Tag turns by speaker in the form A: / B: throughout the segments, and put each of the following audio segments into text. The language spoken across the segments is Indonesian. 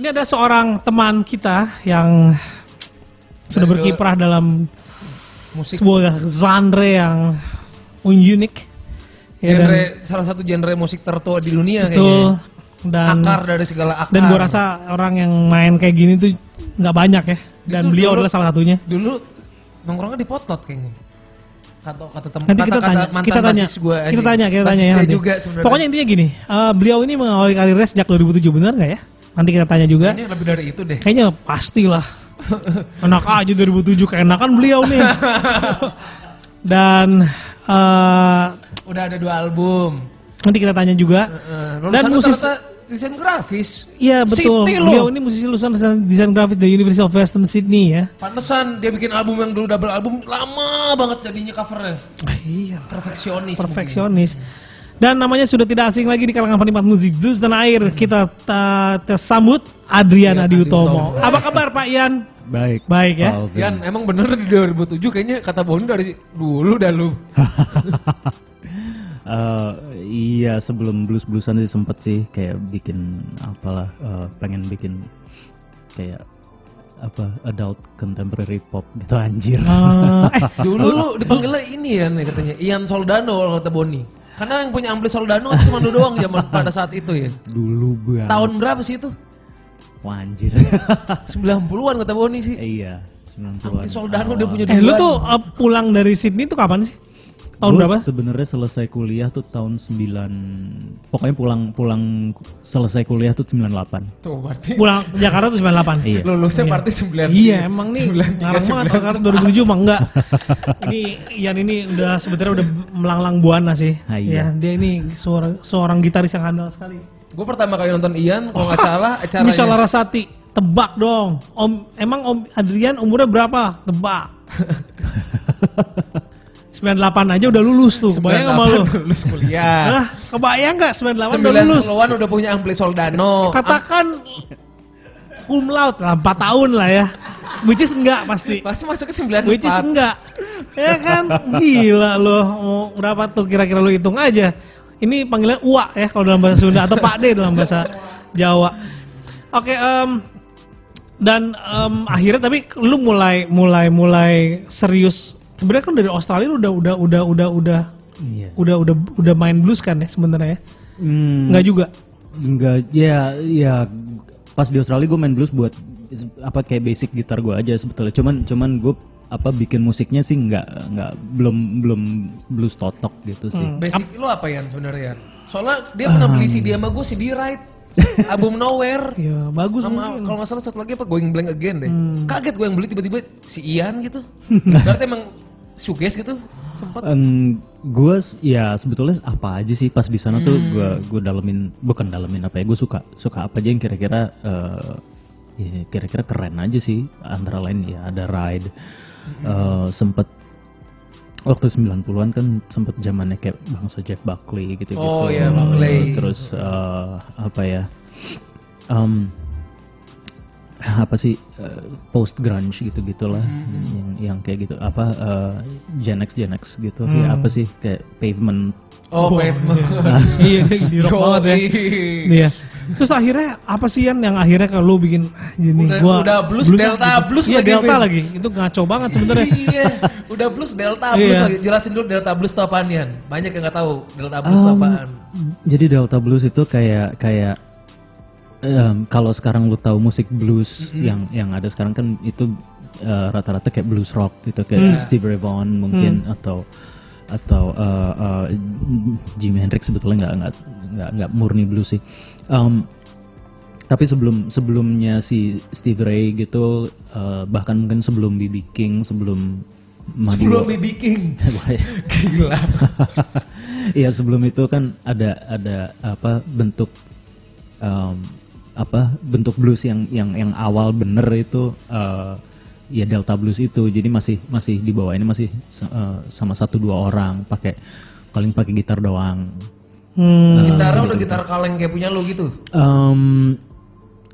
A: Ini ada seorang teman kita yang sudah
B: Dari dulu.
A: berkiprah dalam
B: musik
A: sebuah genre yang unik. Ya, dan
B: genre salah satu genre musik tertua di dunia
A: betul
B: kayaknya.
A: dan
B: akar dari segala akar.
A: dan gua rasa orang yang main kayak gini tuh nggak banyak ya. Dan
B: Itu
A: beliau
B: dulu-
A: adalah salah satunya.
B: dulu nongkrongnya di potlot kayaknya. Kata kata teman
A: Nanti kita tanya,
B: mantan
A: kita tanya,
B: basis gua
A: kita
B: anjing.
A: tanya, kita
B: Basis
A: tanya ya
B: dia
A: nanti.
B: juga sebenarnya.
A: Pokoknya intinya gini, eh, beliau ini mengawali karirnya sejak 2007 benar nggak ya? Nanti kita tanya juga.
B: Kayaknya lebih dari itu deh.
A: Kayaknya pastilah. Enak aja 2007 keenakan beliau nih. Dan eh,
B: Udah ada dua album.
A: nanti kita tanya juga.
B: Heeh.
A: Dan
B: Lulusan
A: musis-
B: rata-rata desain grafis.
A: Iya betul.
B: Siti
A: Beliau
B: loh.
A: ini musisi lulusan desain- desain grafis dari University of Western Sydney ya.
B: Pantesan dia bikin album yang dulu double album lama banget jadinya covernya.
A: Iya.
B: Perfeksionis. mungkin.
A: Perfeksionis. Dan namanya sudah tidak asing lagi di kalangan penikmat musik blues dan air. Kita ta- tersambut Adrian
B: Hmm. Iya, Adi
A: Adiutomo.
B: Utomo.
A: Apa kabar Pak Ian?
C: Baik.
A: Baik ya.
C: Oke.
B: Yan, emang bener di 2007 kayaknya kata Boni dari dulu dah lu.
C: Eh, iya sebelum blues bluesan sih sempet sih kayak bikin apalah eh, pengen bikin kayak apa adult contemporary pop gitu anjir.
A: Eh, eh,
B: Dulu lu dipanggilnya ini ya nih katanya Ian Soldano kalau kata Boni. Karena yang punya ampli Soldano kan cuma lu doang zaman pada saat itu ya.
C: Dulu banget.
B: Tahun berapa sih itu?
C: Wah anjir.
B: 90-an kata Boni sih.
C: Eh, iya 90-an.
B: Ampli Soldano dia punya
A: eh lu
B: duluan.
A: tuh eh, pulang dari Sydney tuh kapan sih? Tahun
C: Gua
A: berapa?
C: Sebenarnya selesai kuliah tuh tahun 9 pokoknya pulang pulang selesai kuliah tuh 98.
B: tuh berarti
A: Pulang ke Jakarta tuh 98.
C: Iya.
B: lulusnya berarti 9.
A: Iya emang nih
B: 93,
A: ngarang banget kalau kartu 2007 mah enggak. Ini Ian ini udah sebenarnya udah melanglang buana sih.
C: Ah, iya.
A: Ya, dia ini seorang, seorang gitaris yang handal sekali.
B: Gue pertama kali nonton Ian kalau nggak salah acaranya.
A: Bisa Larasati, tebak dong. Om emang Om Adrian umurnya berapa? Tebak. 98 aja udah lulus tuh. Kebayang sama lu?
B: 98 lulus kuliah.
A: Hah? Kebayang enggak 98 udah lulus?
B: 90-an udah punya ampli Soldano.
A: Katakan cum laude lah 4 tahun lah ya. Which is enggak pasti.
B: Ah, Pasti masuk ke 94.
A: Which is enggak. Ya kan? Gila loh. Mau berapa tuh kira-kira lu hitung aja. Ini panggilan Uwa ya kalau dalam bahasa Sunda atau Pak D dalam bahasa Jawa. Oke, em, dan em, akhirnya tapi lu mulai mulai mulai serius. Sebenarnya kan dari Australia lu udah udah udah udah udah
C: Iya.
A: udah udah udah main blues kan ya sebenarnya ya?
C: Hmm,
A: Enggak juga.
C: Enggak, ya, ya pas di Australia gue main blues buat apa kayak basic gitar gue aja sebetulnya. Cuman, cuman gue apa bikin musiknya sih nggak nggak belum belum blues totok gitu sih.
B: Basic lu apa Yan sebenarnya? Soalnya dia pernah beli
A: Ah,
B: CD sama gue CD Right.
A: iya.
B: Album Nowhere.
A: Ya bagus.
B: Sama kalau nggak salah satu lagi apa Going Blank Again deh.
A: Hmm.
B: Kaget gue yang beli tiba-tiba si Ian gitu. Berarti emang suges gitu. Sempet.
C: gue ya sebetulnya apa aja sih pas di sana tuh gue gue dalemin bukan dalemin apa ya gue suka suka apa aja yang kira-kira eh, ya, kira-kira keren aja sih antara lain ya ada ride eh, sempet waktu 90-an kan sempet zamannya kayak bangsa Jeff Buckley gitu gitu
B: Oh, iya, Buckley.
C: terus eh, apa ya em, apa sih post grunge gitu gitulah
B: Hmm.
C: yang, yang kayak gitu apa eh, Gen X Gen X gitu sih
B: Hmm.
C: apa sih kayak pavement
B: Oh, pavement.
A: iya, dia di rock banget ya.
B: Yoi.
A: Iya. Terus akhirnya apa sih Yan yang akhirnya kalau lu bikin ah, ini
B: Udah-
A: gua
B: udah blues Delta, blues
A: iya,
B: lagi,
A: Delta
B: Vin.
A: lagi. Itu ngaco banget sebenarnya.
B: iya, udah blues delta
A: ya.
B: blues
A: Iya.
B: lagi. Jelasin dulu delta blues itu apaan Yan? Banyak yang nggak tahu delta blues itu
C: Um,
B: apaan.
C: jadi Delta Blues itu kayak kayak em, kalau sekarang lu tahu musik blues yang yang ada sekarang kan itu eh, rata-rata kayak blues rock gitu kayak Steve Ray Vaughan mungkin atau atau eh, eh, Jimi Hendrix sebetulnya nggak nggak nggak nggak murni blues sih. Em, tapi sebelum sebelumnya si Steve Ray gitu eh, bahkan mungkin sebelum BB King sebelum Muddy
B: Sebelum
C: Wa-
B: BB King. Gila.
C: Iya sebelum itu kan ada ada apa bentuk em, apa bentuk blues yang yang yang awal bener itu eh, ya delta blues itu jadi masih masih di bawah ini masih se- eh, sama satu dua orang pakai paling pakai gitar doang.
A: Hmm.
B: Gitarnya udah gitar kaleng kayak punya lu gitu.
C: Em,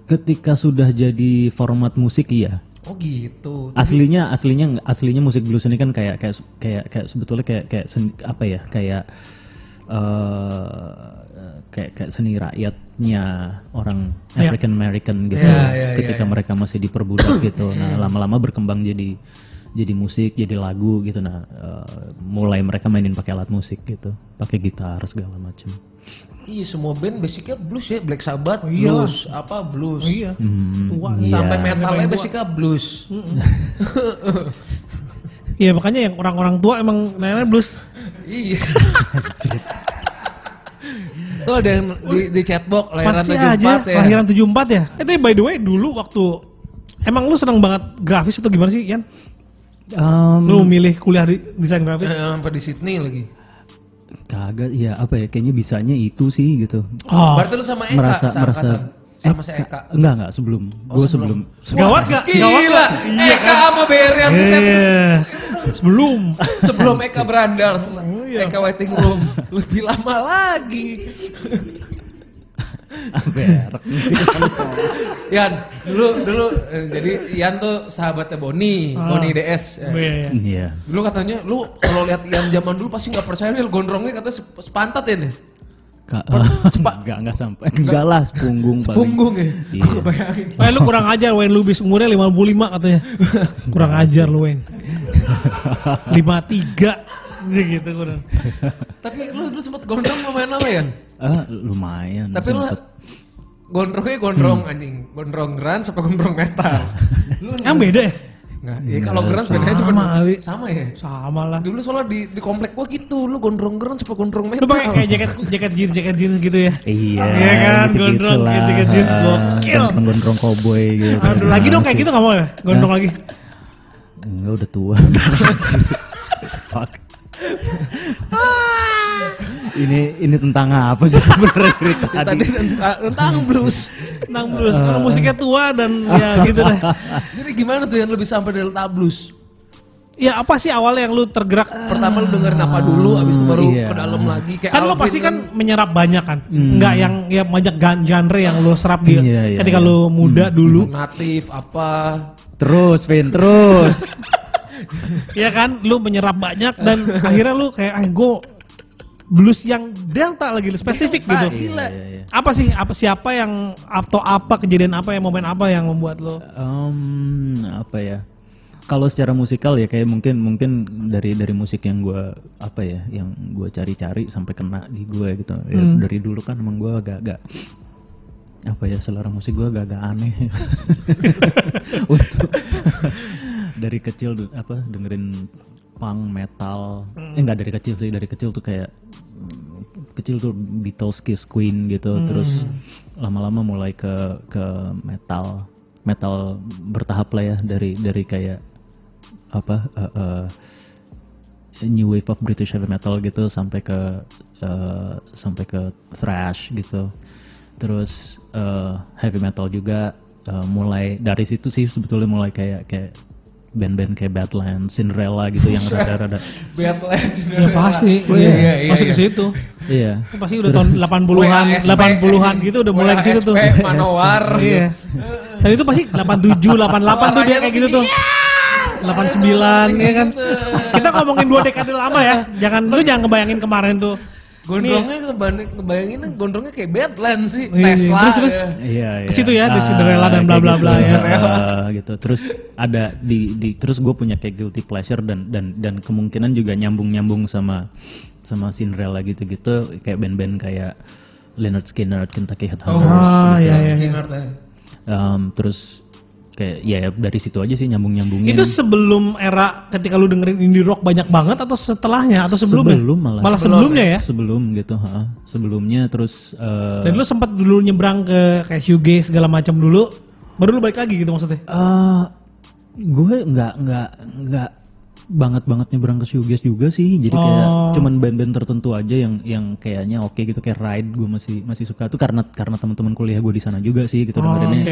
C: ketika sudah jadi format musik iya
B: Oh gitu.
C: aslinya aslinya aslinya musik blues ini kan kayak kayak kayak kayak sebetulnya kayak kayak sen- apa ya kayak eh, kayak kayak seni rakyatnya orang
B: Ya.
A: Iya.
C: African American gitu
B: Iya, iya,
C: ketika mereka masih diperbudak gitu
B: Hmm.
C: nah lama-lama berkembang jadi jadi musik jadi lagu gitu nah eh, mulai mereka mainin pakai alat musik gitu pakai gitar segala macam
B: Iya semua band basicnya blues ya, Black Sabbath,
A: iyalah.
B: blues, apa blues.
A: iya. Oh, iya. Tua.
B: Sampai metalnya basicnya blues.
A: Iya makanya yang orang-orang tua emang nenek blues.
B: Iya. Tuh ada yang di, di chatbox lahiran
A: Masih
B: 74
A: aja
B: ya.
A: lahiran 74 ya. Eh tapi by the way dulu waktu emang lu seneng banget grafis atau gimana sih Yan?
C: Em,
A: Lu milih kuliah di desain
B: Hmm. Eh,
A: grafis?
B: Sampai di Sydney lagi.
C: kagak ya apa ya kayaknya bisanya itu sih gitu
A: Oh,
B: Berarti lu sama Eka
C: merasa merasa
B: seangkatan. sama
C: eh,
B: si Eka. Oh,
C: ka- enggak enggak sebelum gue sebelum,
A: gawat gak? Gawat
B: Gila, Eh,
A: gak?
B: Eka sama Berian tuh saya-
A: kan? Iya. Sebelum.
B: sebelum Eka berandal,
A: Oh, iya.
B: Eka waiting room lebih lama lagi.
C: Berek.
B: Yan, dulu dulu eh, jadi Yan tuh sahabatnya Boni,
A: Ah.
B: Boni DS. eh.
A: Iya.
C: Iya.
B: Dulu katanya, lu kalau lihat Yan zaman dulu pasti nggak percaya nih gondrongnya katanya sep- sepantat ya nih.
C: Ka- eh, enggak enggak sampai. Enggak lah, sepunggung paling.
B: Punggung ya.
C: Iya.
B: Gua bayangin.
A: Eh lu kurang ajar Wayne Lubis umurnya 55 katanya. kurang ajar lu Wayne. 53 Jadi gitu kurang.
B: Tapi lu dulu sempat gondrong lumayan lama Yan.
C: Ah, lumayan.
B: Tapi lu
C: sempet.
B: gondrongnya gondrong
C: Hmm.
B: anjing, gondrong grunge apa gondrong metal? lu
A: Yang beda ya?
B: Nggak, ya kalau grunge bedanya cuma
A: Sama, Ali.
B: sama ya.
A: Sama lah.
B: Dulu soalnya di, di komplek gua gitu, lu gondrong grunge apa gondrong
A: Lu
B: metal?
A: pakai kayak jaket jaket jeans, jaket jeans gitu ya.
C: Iya.
A: Iya kan,
C: gitu-gitu
A: gondrong,
C: lah.
A: gitu-gitu jeans,
C: Ah,
A: gokil.
C: Gondrong-gondrong koboi gitu.
A: Aduh, lagi dong kayak gitu gak mau ya? Gondrong lagi.
C: Enggak udah tua. Fuck. ini ini tentang apa sih sebenarnya cerita
B: Ya, tadi
C: tadi?
B: tentang, tentang blues.
A: Nang blues,
C: Eh.
A: karena musiknya tua dan ya gitu deh.
B: Jadi gentara gimana tuh yang lebih sampai delta blues?
A: Ya apa sih awalnya yang lu tergerak?
B: Pertama lu dengerin apa dulu, abis itu baru
C: iya.
B: ke dalam lagi. Kayak
A: Ah, Kan lu
B: Alvin
A: pasti kan menyerap banyak kan? Enggak yang ya banyak gan- genre yang lu serap di
C: Hmm. Iya, iya,
A: ketika
C: iya.
A: lu muda dulu.
B: natif apa?
C: Terus, Vin, terus.
A: Iya kan, lu menyerap banyak dan akhirnya lu kayak ah gue blues yang delta lagi lu spesifik gitu.
B: Delta, Ah, gila.
C: Iya, iya.
A: Apa sih apa siapa yang atau apa kejadian apa yang momen apa yang membuat lu
C: Em, apa ya? Kalau secara musikal ya kayak mungkin mungkin dari dari musik yang gue apa ya, yang gue cari-cari sampai kena di gue gitu. Ya, Dari dulu kan emang gue agak-agak apa ya selera musik gue agak-agak aneh. Untuk dari kecil du- apa dengerin punk metal, eh nggak dari kecil sih dari kecil tuh kayak mm, kecil tuh Beatles, Kiss, Queen gitu. Terus lama-lama mulai ke ke metal metal bertahap lah ya dari dari kayak apa eh, eh, new wave of British heavy metal gitu sampai ke eh, sampai ke thrash gitu terus eh, heavy metal juga eh, mulai dari situ sih sebetulnya mulai kayak kayak band-band kayak Badlands, Cinderella gitu yang rada-rada
B: Battle
A: Ya pasti,
B: Iya, iya, iya.
A: masuk ke situ.
C: iya
A: Itu Pasti udah tahun 80-an,
B: WASP,
A: 80-an gitu udah mulai ke situ tuh.
B: WASP, Manowar.
A: Iya. Dan itu pasti 87, 88 tuh dia
B: Suaranya
A: kayak gitu tuh.
B: iya.
A: 89 ya kan.
B: Bener.
A: Kita ngomongin dua dekade lama ya. Jangan lu jangan ngebayangin kemarin tuh.
B: Gondrongnya keban- kebayangin gondrongnya kayak Badlands sih,
A: Iya,
B: Tesla.
A: terus, terus.
B: ya.
C: Iya,
A: Ke situ ya, The Cinderella dan bla
C: kayak
A: bla
C: gitu,
A: bla ya.
C: Cinderella, gitu. Terus ada di di terus gue punya kayak guilty pleasure dan dan dan kemungkinan juga nyambung-nyambung sama sama Cinderella gitu-gitu kayak band-band kayak Leonard Skinner, Kentucky
B: Oh,
C: Headhunters.
A: Ah, iya iya.
B: Skinner tadi.
C: Em, terus kayak ya dari situ aja sih nyambung-nyambungin.
A: Itu sebelum era ketika lu dengerin indie rock banyak banget atau setelahnya atau sebelumnya?
C: Sebelum malah.
A: sebelumnya ya.
C: sebelum gitu, ha. Sebelumnya terus eh,
A: Dan lu sempat dulu nyebrang ke kayak Hughie segala macam dulu. Baru lu balik lagi gitu maksudnya.
C: eh gue nggak nggak nggak banget banget nyebrang ke Sugis juga sih jadi kayak cuman band-band tertentu aja yang yang kayaknya oke gitu kayak ride gue masih masih suka tuh karena karena teman-teman kuliah gue di sana juga sih gitu dengerinnya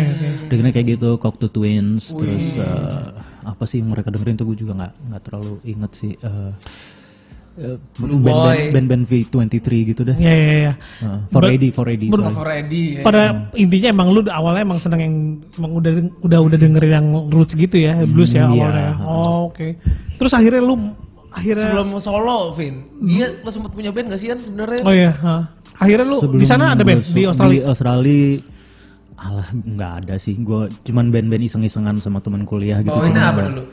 C: dengerinnya kayak gitu Cocteau Twins terus eh, apa sih yang mereka dengerin tuh gue juga nggak nggak terlalu inget sih eh eh, band-band band-band V23 gitu deh Eh,
A: Iya iya iya.
C: for ready for ready sorry.
B: Cover Eddie. ya.
C: Hmm.
A: Pada intinya emang lu awalnya emang seneng yang emang udah
C: Iya.
A: ya? udah udah dengerin yang roots gitu ya, blues ya awalnya. Oh, oke. Terus akhirnya lu akhirnya
B: Sebelum solo, Vin. Dia
A: Hmm.
B: lo sempat punya band gak sih Ian sebenarnya?
A: oh iya ha. akhirnya lu di sana ada band
C: gua su-
A: di Australia
C: Di Australia alah nggak ada sih. Gue cuman band-band iseng-isengan sama teman kuliah gitu.
B: Bawainnya Oh,
C: cuma
B: apa
C: nggak-
B: dulu?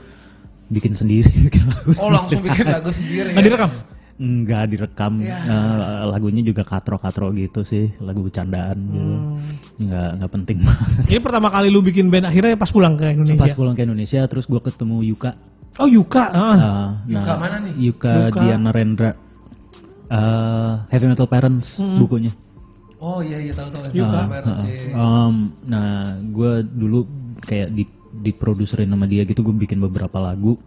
C: Bikin sendiri, bikin lagu.
B: Oh langsung bikin lagu sendiri. ya.
A: nggak Nah, direkam
C: Nggak direkam.
B: Iya.
C: Eh, lagunya juga katro-katro gitu sih, lagu bercandaan gitu.
B: Hmm.
C: Nggak nggak penting banget.
A: jadi pertama kali lu bikin band akhirnya pas pulang ke
C: Pas
A: Indonesia
C: pulang ke Indonesia terus gue ketemu Yuka.
A: oh Yuka ah.
C: Eh,
B: Yuka mana nih?
C: Yuka, Diana Rendra. Eh, Heavy Metal Parents
A: Hmm.
C: bukunya.
B: Oh iya iya tahu tahu. Yuka. sih.
C: Um, nah, gue dulu kayak di diproduserin sama dia gitu, gue bikin beberapa lagu,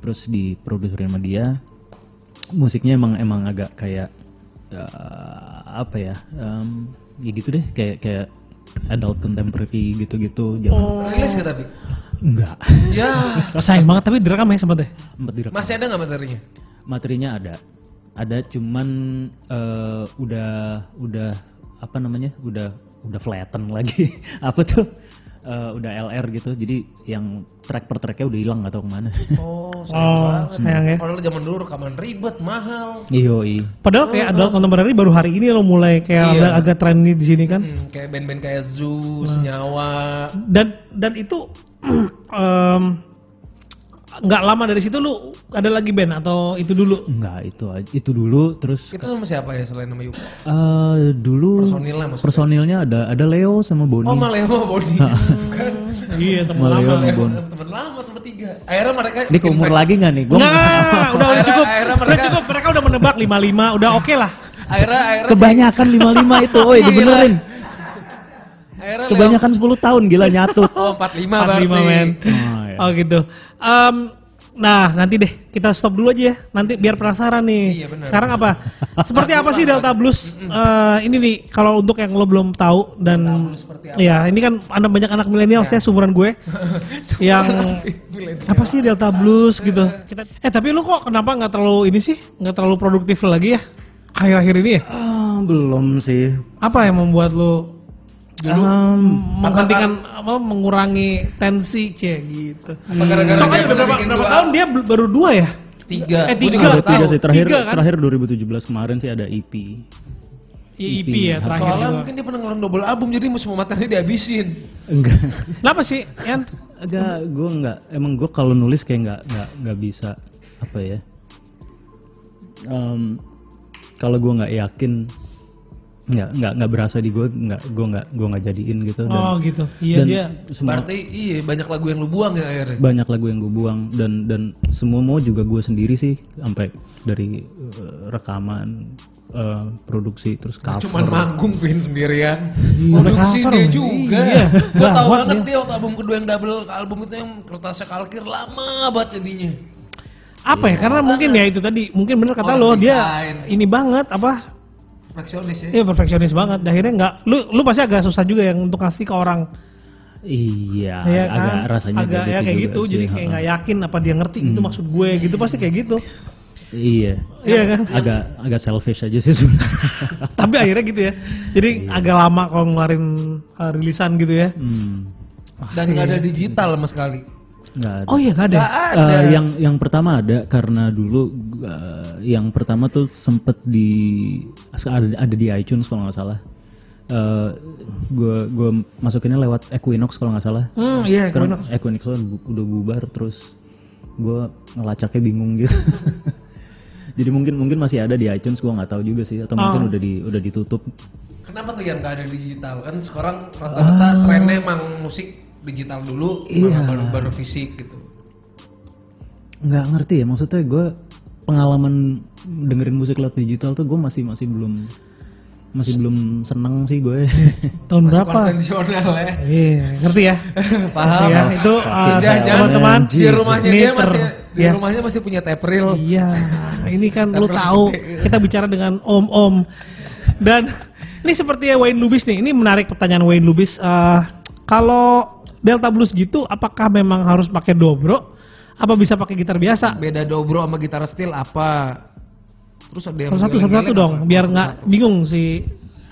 C: terus diproduserin sama dia. Musiknya emang emang agak kayak uh, apa ya? Um, ya gitu deh, kayak kayak adult contemporary
B: Oh.
C: gitu-gitu, jangan
B: Rilis gak tapi?
C: enggak
B: Ya.
A: Oh, sayang banget tapi direkam ya sempet ya
C: Empat direkam.
B: Masih ada nggak materinya?
C: Materinya ada, ada cuman eh, udah udah apa namanya? Udah udah flatten lagi. apa tuh? Eh, udah LR gitu. Jadi yang track per tracknya udah hilang atau kemana?
B: Oh sayang
A: oh
B: banget.
A: sayang ya
B: Padahal zaman dulu rekaman ribet, mahal.
C: Yoi.
A: padahal kayak adult contemporary baru hari ini lo mulai
B: Iya.
A: kayak agak, agak tren nih di sini kan
B: Hmm, kayak band-band kayak Zoo, Senyawa.
A: dan dan itu em, nggak lama dari situ lu ada lagi band atau itu dulu
C: Enggak itu aja. Itu dulu terus
B: Itu sama siapa ya selain nama Yuka?
C: eh, dulu
B: Personil lah maksudnya.
C: personilnya ada ada Leo sama
B: Oh
A: Hmm.
C: Boni.
B: Maleo Body. Bukan.
A: iya
C: Sama Leo sama Boni.
B: Temen lama, temen tiga. Akhirnya mereka
C: Ini ke umur lagi nggak nih? Gua
A: Nggak, udah udah
B: Akhirnya-
A: cukup.
B: akhirnya
A: udah
B: mereka-
A: cukup, mereka udah menebak 55, udah oke lah.
B: akhirnya akhirnya si-
C: kebanyakan 55 itu, oi
B: Gila.
C: dibenerin.
B: akhirnya Leo-
C: Kebanyakan 10 tahun gila nyatut.
B: Oh 45 berarti.
A: 45 men.
C: Oh, iya.
A: Oh gitu. Em, nah, nanti deh kita stop dulu aja ya. Nanti biar penasaran nih.
B: Iya, benar.
A: Sekarang apa? Seperti apa sih Delta Blues? Eh, ini nih kalau untuk yang lo belum tahu dan ya, ini kan ada banyak anak milenial saya seumuran gue yang apa sih Delta Blues gitu. Kita- Eh, tapi lu kok kenapa nggak terlalu ini sih? nggak terlalu produktif lagi ya? Akhir-akhir ini ya?
C: Ah, belum sih.
A: Apa yang membuat lu
C: Um,
A: menghentikan apa mengurangi tensi cie gitu.
B: Apa gara-gara
A: Soalnya
B: dia
A: udah berapa,
B: bikin
A: berapa
B: dua?
A: tahun dia bel- baru dua ya?
B: Tiga.
A: Eh,
B: Gua juga
A: tiga.
C: Ada
B: baru
C: tiga
B: tahu.
C: sih terakhir
A: Tiga kan?
C: terakhir 2017 kemarin sih ada E EP.
A: Iya, EP ya terakhir
B: Soalnya
A: juga.
B: mungkin dia pernah ngeluarin double album jadi semua materi dihabisin.
C: Enggak.
A: Kenapa sih, Yan?
C: Iya. Enggak, gue enggak. Emang gue kalau nulis kayak enggak enggak enggak bisa apa ya? Em, kalau gue nggak yakin nggak nggak nggak berasa di gue nggak gue nggak gue nggak jadiin gitu dan,
A: Oh gitu. Iya
C: dan
A: dia.
C: semua
B: Berarti iya banyak lagu yang lu buang ya akhirnya.
C: banyak lagu yang gue buang dan dan semua mau juga gue sendiri sih sampai dari eh, rekaman eh, produksi terus cover
B: Cuman manggung Vin sendirian. Produksi
A: Iya, cover,
B: dia
A: men.
B: juga.
A: Iya.
B: Gua tahu
A: Gawat
B: banget dia waktu album kedua yang double album itu yang kertasnya kalkir lama banget jadinya.
A: Apa ya? Karena mungkin ya itu tadi, mungkin bener kata lo
B: Orang
A: dia
B: desain.
A: ini banget apa?
B: Perfeksionis ya.
A: Iya perfeksionis banget. Dan Akhirnya nggak, lu lu pasti agak susah juga yang untuk ngasih ke orang.
C: Iya,
A: Iya
C: agak
A: kan?
C: rasanya
A: agak ya kayak
C: juga
A: gitu.
C: sih,
A: Jadi
C: ha.
A: kayak nggak yakin apa dia ngerti itu maksud gue gitu pasti kayak gitu.
C: Iya.
A: Iya kan?
C: Agak agak selfish aja sih sebenarnya.
A: Tapi akhirnya gitu ya. Jadi agak lama kalau ngeluarin uh, rilisan gitu ya.
C: Hmm.
A: Ah,
B: Dan
A: iya,
B: nggak ada digital sama sekali.
C: Nggak ada.
A: Oh iya nggak ada.
B: Nggak
C: Eh,
B: ada.
C: yang yang pertama ada karena dulu eh, yang pertama tuh sempet di ada, ada di iTunes kalau nggak salah. Eh, Gue gue masukinnya lewat Equinox kalau nggak salah.
A: Hmm, iya.
C: Sekarang Equinox tuh bu- udah bubar terus gue ngelacaknya bingung gitu. Jadi mungkin mungkin masih ada di iTunes gue nggak tahu juga sih atau mungkin udah di udah ditutup.
B: Kenapa tuh yang nggak ada digital? Kan sekarang rata-rata
A: Ah.
B: trennya emang musik digital dulu,
A: Iya.
B: baru, baru fisik gitu.
C: nggak ngerti ya maksudnya gue pengalaman dengerin musik lewat digital tuh gue masih masih belum masih belum seneng sih gue
A: Tahun
B: Masih
A: berapa?
B: konvensional ya.
A: Iya, ngerti ya?
B: Paham.
A: ya, itu uh,
B: Jangan-jangan
A: teman-teman
B: Kan di rumahnya dia
A: meter.
B: masih di
A: Ya.
B: rumahnya masih punya tape reel.
A: Iya, ini kan lu tahu kita bicara dengan om-om dan ini seperti ya Wayne Lubis nih. Ini menarik pertanyaan Wayne Lubis. Eh, kalau Delta Blues gitu, apakah memang harus pakai dobro? Apa bisa pakai gitar biasa?
B: Beda dobro sama gitar steel apa? Terus ada yang
A: Satu-satu
B: geleng-geleng
A: satu-satu
B: apa?
A: dong, biar nggak bingung si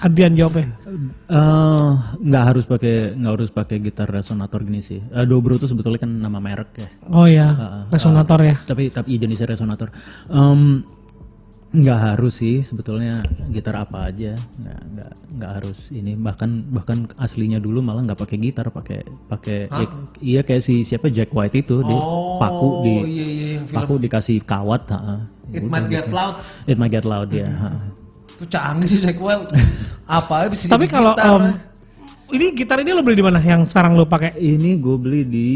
A: Adrian jawabnya.
C: Eh, nggak harus pakai nggak harus pakai gitar resonator gini sih. Eh, Dobro itu sebetulnya kan nama merek ya.
A: Oh ya, resonator ya.
C: Tapi tapi iya, jenisnya resonator. Em, nggak harus sih sebetulnya gitar apa aja. Nggak nggak nggak harus ini bahkan bahkan aslinya dulu malah nggak pakai gitar pakai pakai ya- iya kayak si siapa Jack White itu di paku di
B: Oh iya iya yang film
C: paku dikasih kawat. ha.
B: It Might Get Loud
C: It might get loud ya. ha.
B: tuh canggih sih Jack Wild. Apa bisa
A: Tapi
B: jadi
A: kalau
B: gitar.
A: em, ini gitar ini lo beli di mana yang sekarang lo pakai?
C: Ini gue beli di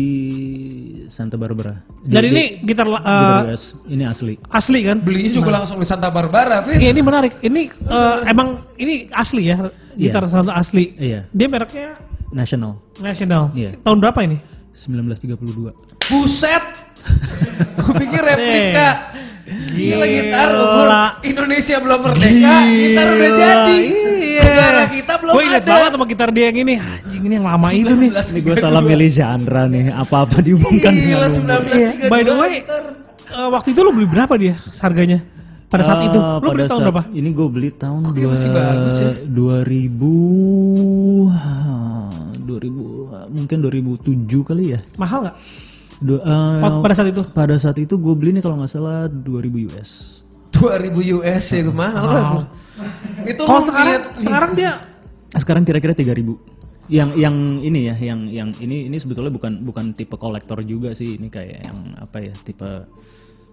C: Santa Barbara. Di-
A: Dan ini gitar la-
C: di
A: eh,
C: US. Ini asli.
A: asli kan?
B: belinya juga langsung di Santa Barbara, Vin.
A: Iya ini menarik. Ini eh, emang ini asli ya gitar resonator asli.
C: Iya,
A: Dia mereknya
C: national.
A: National.
C: Iya.
A: Tahun berapa ini?
C: 1932.
B: Buset. Gue pikir replika. Gila gitar umur
A: Gila.
B: Indonesia belum merdeka, Ya, gitar udah jadi.
C: Iya.
B: Negara kita belum
A: Gue inget
B: ada.
A: Iya. banget sama gitar dia yang ini. Anjing ini yang lama itu nih.
C: Ini ya. gue salah milih genre nih. Apa-apa diumumkan
B: Gila
C: dengan umur.
B: 1932.
A: By the way,
B: gitar.
A: eh, waktu itu lo beli berapa dia harganya? Pada saat itu
C: Eh,
A: lo beli
C: pada
A: tahun
C: saat-
A: berapa?
C: Ini gue beli tahun
B: dia
C: dua,
B: masih bagus ya?
C: 2000 ha, 2000 eh, mungkin 2007 kali ya.
A: Mahal nggak?
C: Dua- eh,
A: Waktu- Oh, Pada saat itu?
C: pada saat itu gue beli nih kalau nggak salah 2000 US.
B: 2000 US ya gue mahal lah gue. Itu
A: Kalau
B: lu
A: sekarang,
B: lihat-
A: sekarang dia
C: Sekarang kira-kira 3000. Yang yang ini ya, yang yang ini ini sebetulnya bukan bukan tipe kolektor juga sih, ini kayak yang apa ya, tipe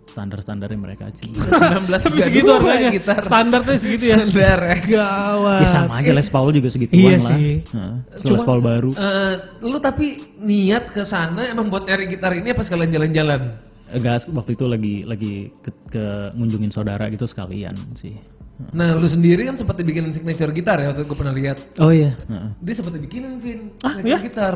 C: standar-standarnya mereka sih.
B: 19
A: tapi segitu harganya. Standarnya segitu ya.
B: Standar ya.
A: Gawat.
C: Ya sama aja Les Paul juga segituan
A: Iya
C: lah.
A: sih.
C: Heeh, Les Paul baru.
B: Eh, lu tapi niat ke sana emang buat nyari gitar ini apa sekalian jalan-jalan?
C: Eh, Gas waktu itu lagi lagi ke, ke ngunjungin saudara gitu sekalian sih.
B: Nah, lu sendiri kan seperti bikin signature gitar ya waktu gue pernah lihat.
C: Oh iya. Heeh.
B: Dia seperti bikinin Vin
A: Ah, iya?
B: signature gitar.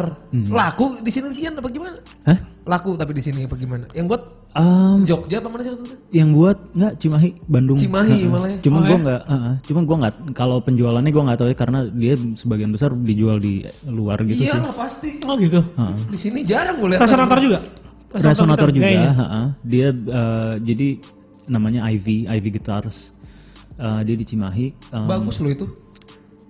B: Laku di sini Vin apa gimana?
C: Hah?
B: Laku tapi di sini apa gimana? Yang buat
C: Em,
B: Jogja apa mana sih waktu itu?
C: yang buat nggak Cimahi Bandung.
B: Cimahi malah ya.
C: Cuma gua nggak, heeh. cuma gua nggak kalau penjualannya gua nggak tahu ya karena dia sebagian besar dijual di luar gitu
B: Iya
C: sih.
B: lah pasti.
A: Oh gitu.
B: Di sini jarang gue lihat.
A: Resonator juga. gitar,
C: Resonator juga,
A: kayaknya.
C: heeh. dia eh, jadi namanya Ivy, Ivy Guitars. Eh, dia di Cimahi. Em,
B: Bagus lo itu.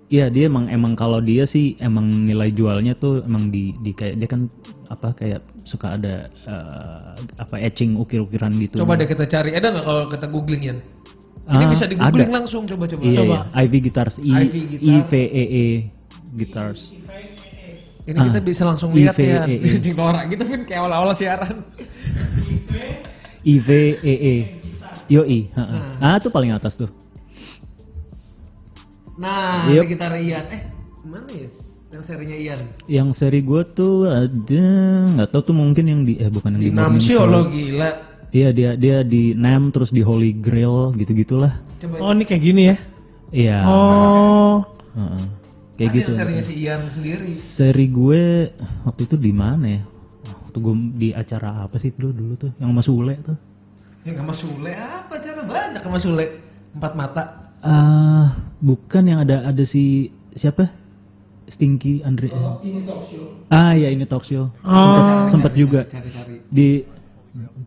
C: Iya dia emang emang kalau dia sih emang nilai jualnya tuh emang di di kayak dia kan apa kayak suka ada eh, apa etching ukir-ukiran gitu.
B: Coba deh kita cari. Ada nggak kalau kita googling ya? Ini bisa di googling langsung coba-coba.
C: Ah, iya, iya. Ivy Guitars I
B: Ivy Guitar.
C: I V E E Guitars.
B: Ini kita
C: Ah.
B: bisa langsung lihat ya.
C: IVEE.
B: Di norak gitu Vin kayak awal-awal siaran.
C: I V E E. Yo I. Ah tuh paling atas tuh.
B: Nah, ini gitar Ian. Eh, mana ya? Yang serinya Ian.
C: Yang seri gue tuh ada nggak tahu tuh mungkin yang di eh bukan yang di,
B: Di
C: Morning
B: Namsio
C: Show.
B: lo gila.
C: Iya dia dia di Nam terus di Holy Grail gitu-gitulah.
B: Coba
A: Oh ini kayak gini ya.
C: Iya.
A: Oh.
C: Heeh. Kayak
B: ada
C: gitu.
B: yang serinya si Ian sendiri.
C: Seri gue waktu itu di mana ya? Waktu gue di acara apa sih dulu dulu tuh yang sama Sule tuh.
B: Yang sama Ya, Sule apa cara banyak sama Sule. Empat mata.
C: Ah, bukan yang ada ada si siapa? Stinky Andre. Oh, ini talk show. Ah ya ini talk show. Sempet, sempet juga
B: Cari-cari.
C: di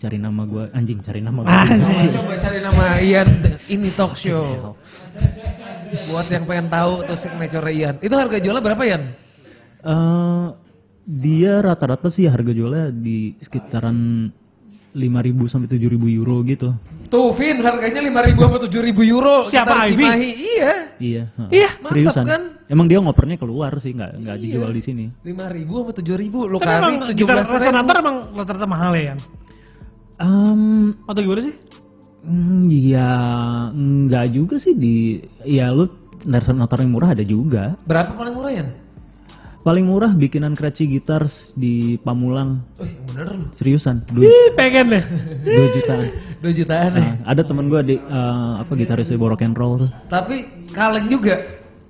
C: cari nama gue anjing cari nama gue.
B: Coba, coba cari nama Ian The- ini talk show. Buat yang pengen tahu tuh signature Ian. Itu harga jualnya berapa Ian?
C: Eh, dia rata-rata sih harga jualnya di sekitaran 5.000 sampai 7.000 euro gitu.
B: Tuh Vin harganya 5000 apa 7000 euro.
A: Siapa
B: Gitar
A: Ivy?
B: Cimahi. Iya.
C: Iya. heeh.
A: Iya,
B: mantap
C: seriusan.
B: kan?
C: Emang dia ngopernya keluar sih, nggak nggak dijual di sini.
B: 5000 apa 7000 lo
A: Tapi emang
B: kali
A: gitar
B: 17.000.
A: resonator emang rata-rata mahal ya. Yan?
C: Um,
A: Atau gimana sih?
C: mm, ya nggak juga sih di ya lu resonator yang murah ada juga.
B: Berapa paling murah Ian?
C: Paling murah bikinan Kreci Guitars di Pamulang
B: Eh, bener lu.
C: seriusan dua
A: Ih, pengen deh.
C: dua jutaan.
B: 2 jutaan ya.
C: Nah, ada temen gue di eh, apa gitaris di Borok and Roll tuh.
B: Tapi kaleng juga.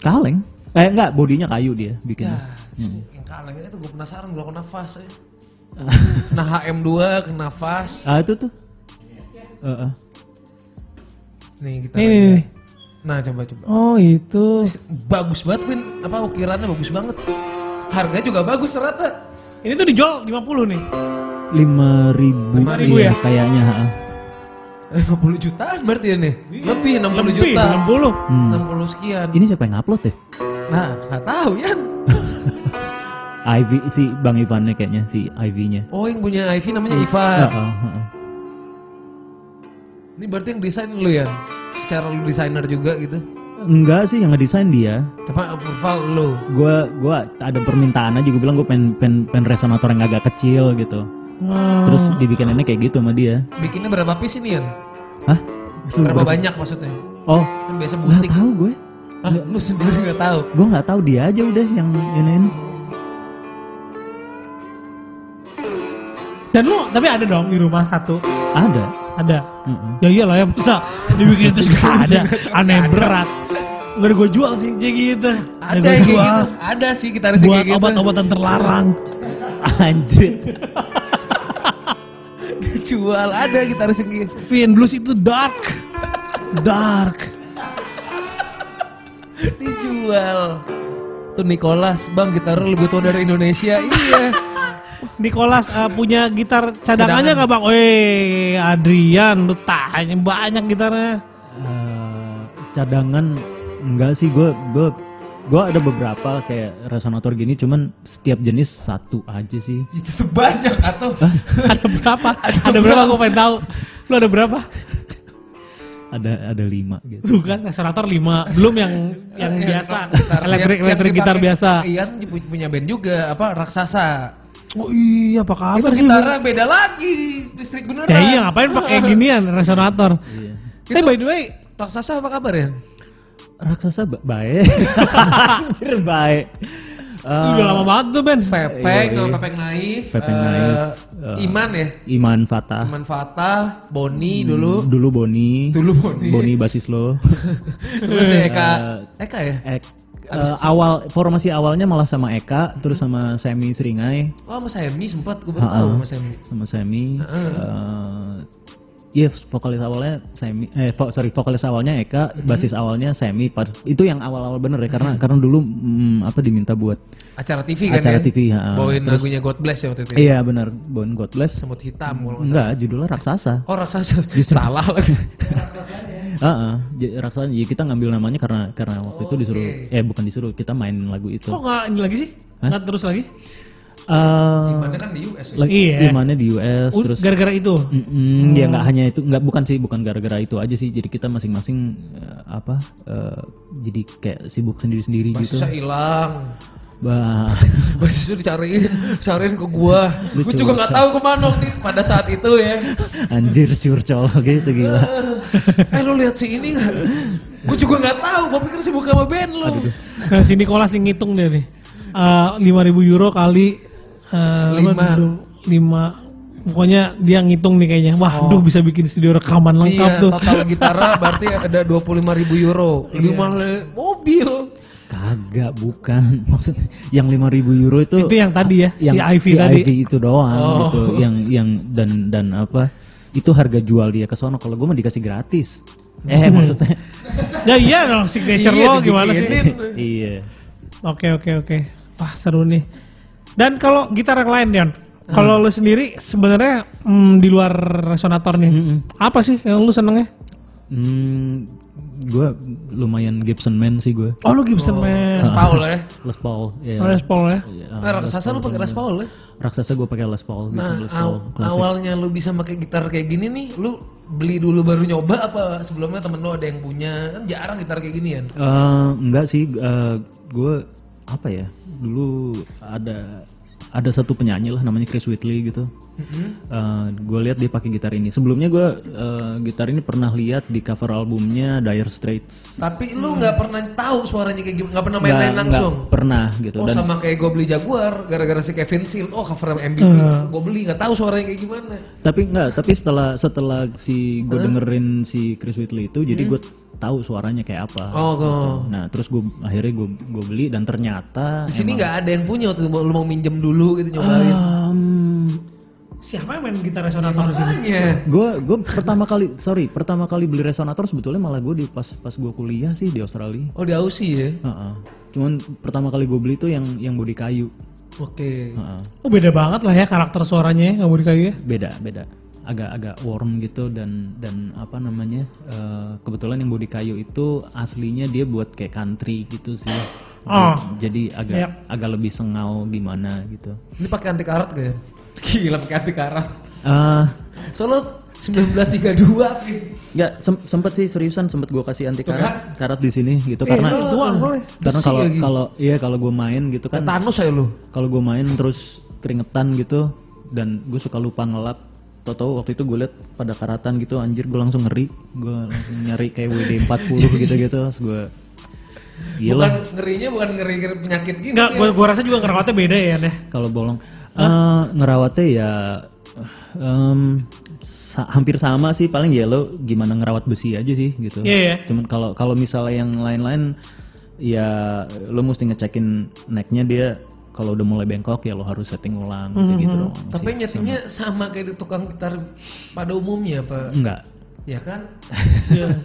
C: Kaleng. Eh enggak, bodinya kayu dia bikin.
B: Ah,
A: Hmm.
B: Yang kaleng itu gue penasaran gue kena fast ya. nah HM2 kena fast.
C: Ah itu tuh. Eh, eh.
B: Nih kita.
A: Nih, nih, nih.
B: Nah coba coba.
A: Oh itu.
B: Bagus banget Vin. Apa ukirannya bagus banget. Harga juga bagus ternyata.
A: Ini tuh dijual 50 nih.
C: 5000
A: 5.000
C: iya,
A: ya?
C: kayaknya, ha.
B: Eh, 50 jutaan berarti ya nih. Lebih 60
A: Iya. Lebih, Iya.
B: juta.
A: 60.
B: 60 sekian.
C: Ini siapa yang upload ya?
B: Nah, nggak tahu ya.
C: IV si Bang Ivannya kayaknya si Ah, IV-nya.
B: Oh, yang punya IV namanya Ivan.
C: Heeh, heeh.
B: Ini berarti yang desain lu ya? Secara lu desainer juga gitu.
C: Enggak sih yang ngedesain dia.
B: Tapi approval lu.
C: Gua gua ada permintaan aja gue bilang gue pengen, pengen pengen resonator yang agak kecil gitu.
A: Hmm.
C: Terus
B: Oh.
C: dibikininnya kayak gitu sama dia.
B: Bikinnya berapa piece ini ya?
C: Hah?
B: Berapa banyak maksudnya?
C: Oh,
B: Kan biasa
C: nggak
B: butik.
C: tahu gue.
B: Hah, lu sendiri nggak tahu.
C: Gue nggak tahu dia aja udah yang ini.
A: Dan lu tapi ada dong di rumah satu.
C: Ada.
A: Ada.
C: Heeh.
A: Ya iyalah ya masa dibikin itu gak ada. Aneh berat. Enggak ada gue jual sih jadi gitu.
B: Ada
A: gua
B: yang kayak gitu. Ada sih kita harus
A: Buat
B: kayak gitu.
A: obat-obatan terlarang.
C: Anjir.
B: Dijual ada kita harus kayak gitu.
A: Vin Blues itu dark. Dark.
B: Dijual. Tuh Nicholas, Bang gitar lu lebih tua dari Indonesia. Iya.
A: Nicholas eh, punya gitar cadangannya nggak bang? Eh Adrian, lu tanya banyak gitarnya.
C: Eh, cadangan enggak sih gue gue gue ada beberapa kayak resonator gini cuman setiap jenis satu aja sih
B: Itu sebanyak atau
A: ada berapa?
B: Ada
A: ada, berapa?
B: berapa?
A: Gue pengen tahu. Lu ada berapa?
C: ada ada lima gitu
A: Tuh kan resonator 5 belum yang yang biasa elektrik
B: Gitar. Iya, Yang- yang
A: elektrik gitar
B: dipakai-
A: biasa.
B: Ian pu- punya band juga apa raksasa.
A: Oh iya apa kabar
B: itu
A: sih?
B: gitarnya beda lagi listrik beneran.
A: Ya iya ngapain pakai ginian resonator? Tapi by the way
B: Raksasa apa kabar ya?
C: raksasa ba- baik anjir baik Eh,
A: udah lama banget tuh Ben.
B: Pepeng, sama Pepeng Naif,
C: Iya, Pepeng
B: eh,
C: Naif, eh, Ah.
B: Iman ya,
C: Iman Fatah
B: Iman Fatah, Boni dulu,
C: dulu Boni
B: dulu Boni,
C: Hmm. Boni basis lo
B: terus ya Eka, Eka ya,
C: Ek- eh, awal formasi awalnya malah sama Eka terus sama Semi Seringai
B: oh Mas Hemi sempat gue baru
C: Ah,
B: tahu Mas Hemi,
C: sama Semi. eh, Iya, vokalis awalnya Semi. Eh, vo- sorry, vokalis awalnya Eka, basis awalnya Semi. Pas- Itu yang awal-awal bener ya, karena karena dulu mm, apa diminta buat.
B: acara TV kan ya,
C: Acara TV, ha.
B: bawain lagunya God Bless ya waktu itu, ya?
C: ah. Iya bener, Bon God Bless.
B: semut hitam, kalau nggak
C: Enggak, judulnya raksasa.
B: salah. oh raksasa, salah lagi,
C: Heeh, j- raksasa. Ya, kita ngambil namanya karena karena waktu itu disuruh. Eh bukan disuruh, kita main lagu itu.
A: Kok nggak ini lagi sih? Nggak terus lagi?
C: Eh,
B: Imannya kan di US ya,
C: lagi
A: Iya.
C: gimana di US
A: U-
C: terus
A: Gara-gara itu. Oh.
C: Mm-mm, ya nggak hanya itu nggak bukan sih bukan gara-gara itu aja sih jadi kita masing-masing eh, apa eh, jadi kayak sibuk sendiri-sendiri gitu
B: susah hilang,
C: bah
B: Basis itu dicariin, cariin ke gua. Gua juga nggak tahu kemana waktu itu, pada saat itu ya.
C: anjir curcol gitu gila
B: Eh lu lihat si ini nggak? Gua juga nggak tahu. Gua pikir sibuk sama band lu.
A: Nah, si Nicholas nih ngitung dia nih. Eh, Lima 5.000 euro kali eh,
B: Lima.
A: apa, du- lima Pokoknya dia ngitung nih kayaknya. Wah, aduh bisa bikin studio rekaman lengkap
B: Iya,
A: tuh.
B: total gitarnya berarti ada 25 ribu euro. Lebih mahal dari mobil.
C: kagak bukan maksudnya yang 5000 euro itu
A: Itu yang tadi ya, si IV tadi. Oh.
C: IV itu doang gitu yang yang dan dan apa itu harga jual dia ke sono kalau gue mah dikasih gratis eh
A: Hmm.
C: maksudnya
A: Ya iya dong signature
B: Iya,
A: lo gimana sih?
B: dibikinin.
C: iya
A: Oke oke oke. Wah seru nih. Dan kalau gitar yang lain Dion, kalau lu sendiri sebenarnya mm, di luar resonator nih, apa sih yang lu senengnya?
C: hmm, gue lumayan Gibson man sih gue
A: Oh lu Gibson Man,
B: Les Paul ya.
C: Les Paul ya
A: Les Paul ya.
C: Iya,
B: Nah, raksasa lu pakai Les Paul ya.
C: raksasa gue pakai Les Paul gitu,
B: Nah,
C: Les Paul
B: aw-
C: klasik.
B: awalnya lu bisa pakai gitar kayak gini nih, lu beli dulu baru nyoba apa sebelumnya temen lu ada yang punya kan jarang gitar kayak gini ya
C: Eh, enggak sih gue apa ya dulu ada ada satu penyanyi lah namanya Chris Whitley gitu
B: Mm-hmm.
C: gue lihat dia pakai gitar ini sebelumnya gue gitar ini pernah lihat di cover albumnya Dire Straits
B: Tapi lu nggak pernah tahu suaranya kayak gimana, Hmm. nggak pernah
C: Nggak-
B: main-main
C: nggak
B: langsung.
C: pernah gitu
B: Oh
C: dan
B: sama kayak gue beli Jaguar gara-gara si Kevin Seal. Oh cover MVP. Gue beli nggak tahu suaranya kayak gimana.
C: tapi enggak tapi setelah setelah si gue dengerin si Chris Whitley itu jadi gue tahu suaranya kayak apa
B: Mm-hmm. Oh, gua-
C: nah terus gue akhirnya gue gue beli dan ternyata
B: di sini nggak ada yang punya waktu itu. lu mau minjem dulu gitu nyobain.
C: em,
A: Siapa yang main gitar resonator di sini?
B: Makanya.
C: gue gue pertama kali sorry pertama kali beli resonator sebetulnya malah gue di pas pas gue kuliah sih di Australia
B: Oh di Aussie ya.
C: Heeh. cuman pertama kali gue beli tuh yang yang bodi kayu
B: Oke.
C: Heeh.
A: Oh beda banget lah ya karakter suaranya ya, nggak mau dikayu ya.
C: beda beda agak-agak warm gitu dan dan apa namanya eh, kebetulan yang bodi kayu itu aslinya dia buat kayak country gitu sih
A: Ah.
C: jadi agak agak lebih sengau gimana gitu
B: Ini pakai anti karat gak ya? Gila pakai anti karat.
C: Eh,
B: Soalnya 1932 Vin.
C: ya sem- sempet sih seriusan sempet gue kasih anti karat karat di sini gitu
A: kan? Eh,
C: karena
A: itu doang boleh.
C: karena kalau kalau iya kalau gue main gitu kan
B: Thanos saya lu.
C: kalau gue main terus keringetan gitu dan gue suka lupa ngelap Toto waktu itu gue liat pada karatan gitu anjir gue langsung ngeri gue langsung nyari kayak WD 40 gitu gitu terus
B: Bukan
C: iya, gue gila
B: ngerinya bukan ngeri, ngeri penyakit gini.
A: Enggak, gua, gua rasa juga ngerawatnya beda ya deh.
C: kalau bolong Eh, ngerawatnya ya em, sa- hampir sama sih paling ya lo gimana ngerawat besi aja sih gitu
A: Iya, iya.
C: cuman kalau kalau misalnya yang lain-lain ya lo mesti ngecekin necknya dia kalau udah mulai bengkok ya lo harus setting ulang gitu gitu
A: Mm-hmm.
C: doang sih.
B: Tapi nyetinya sama kayak di tukang gitar pada umumnya Pak.
C: enggak
B: Ya kan?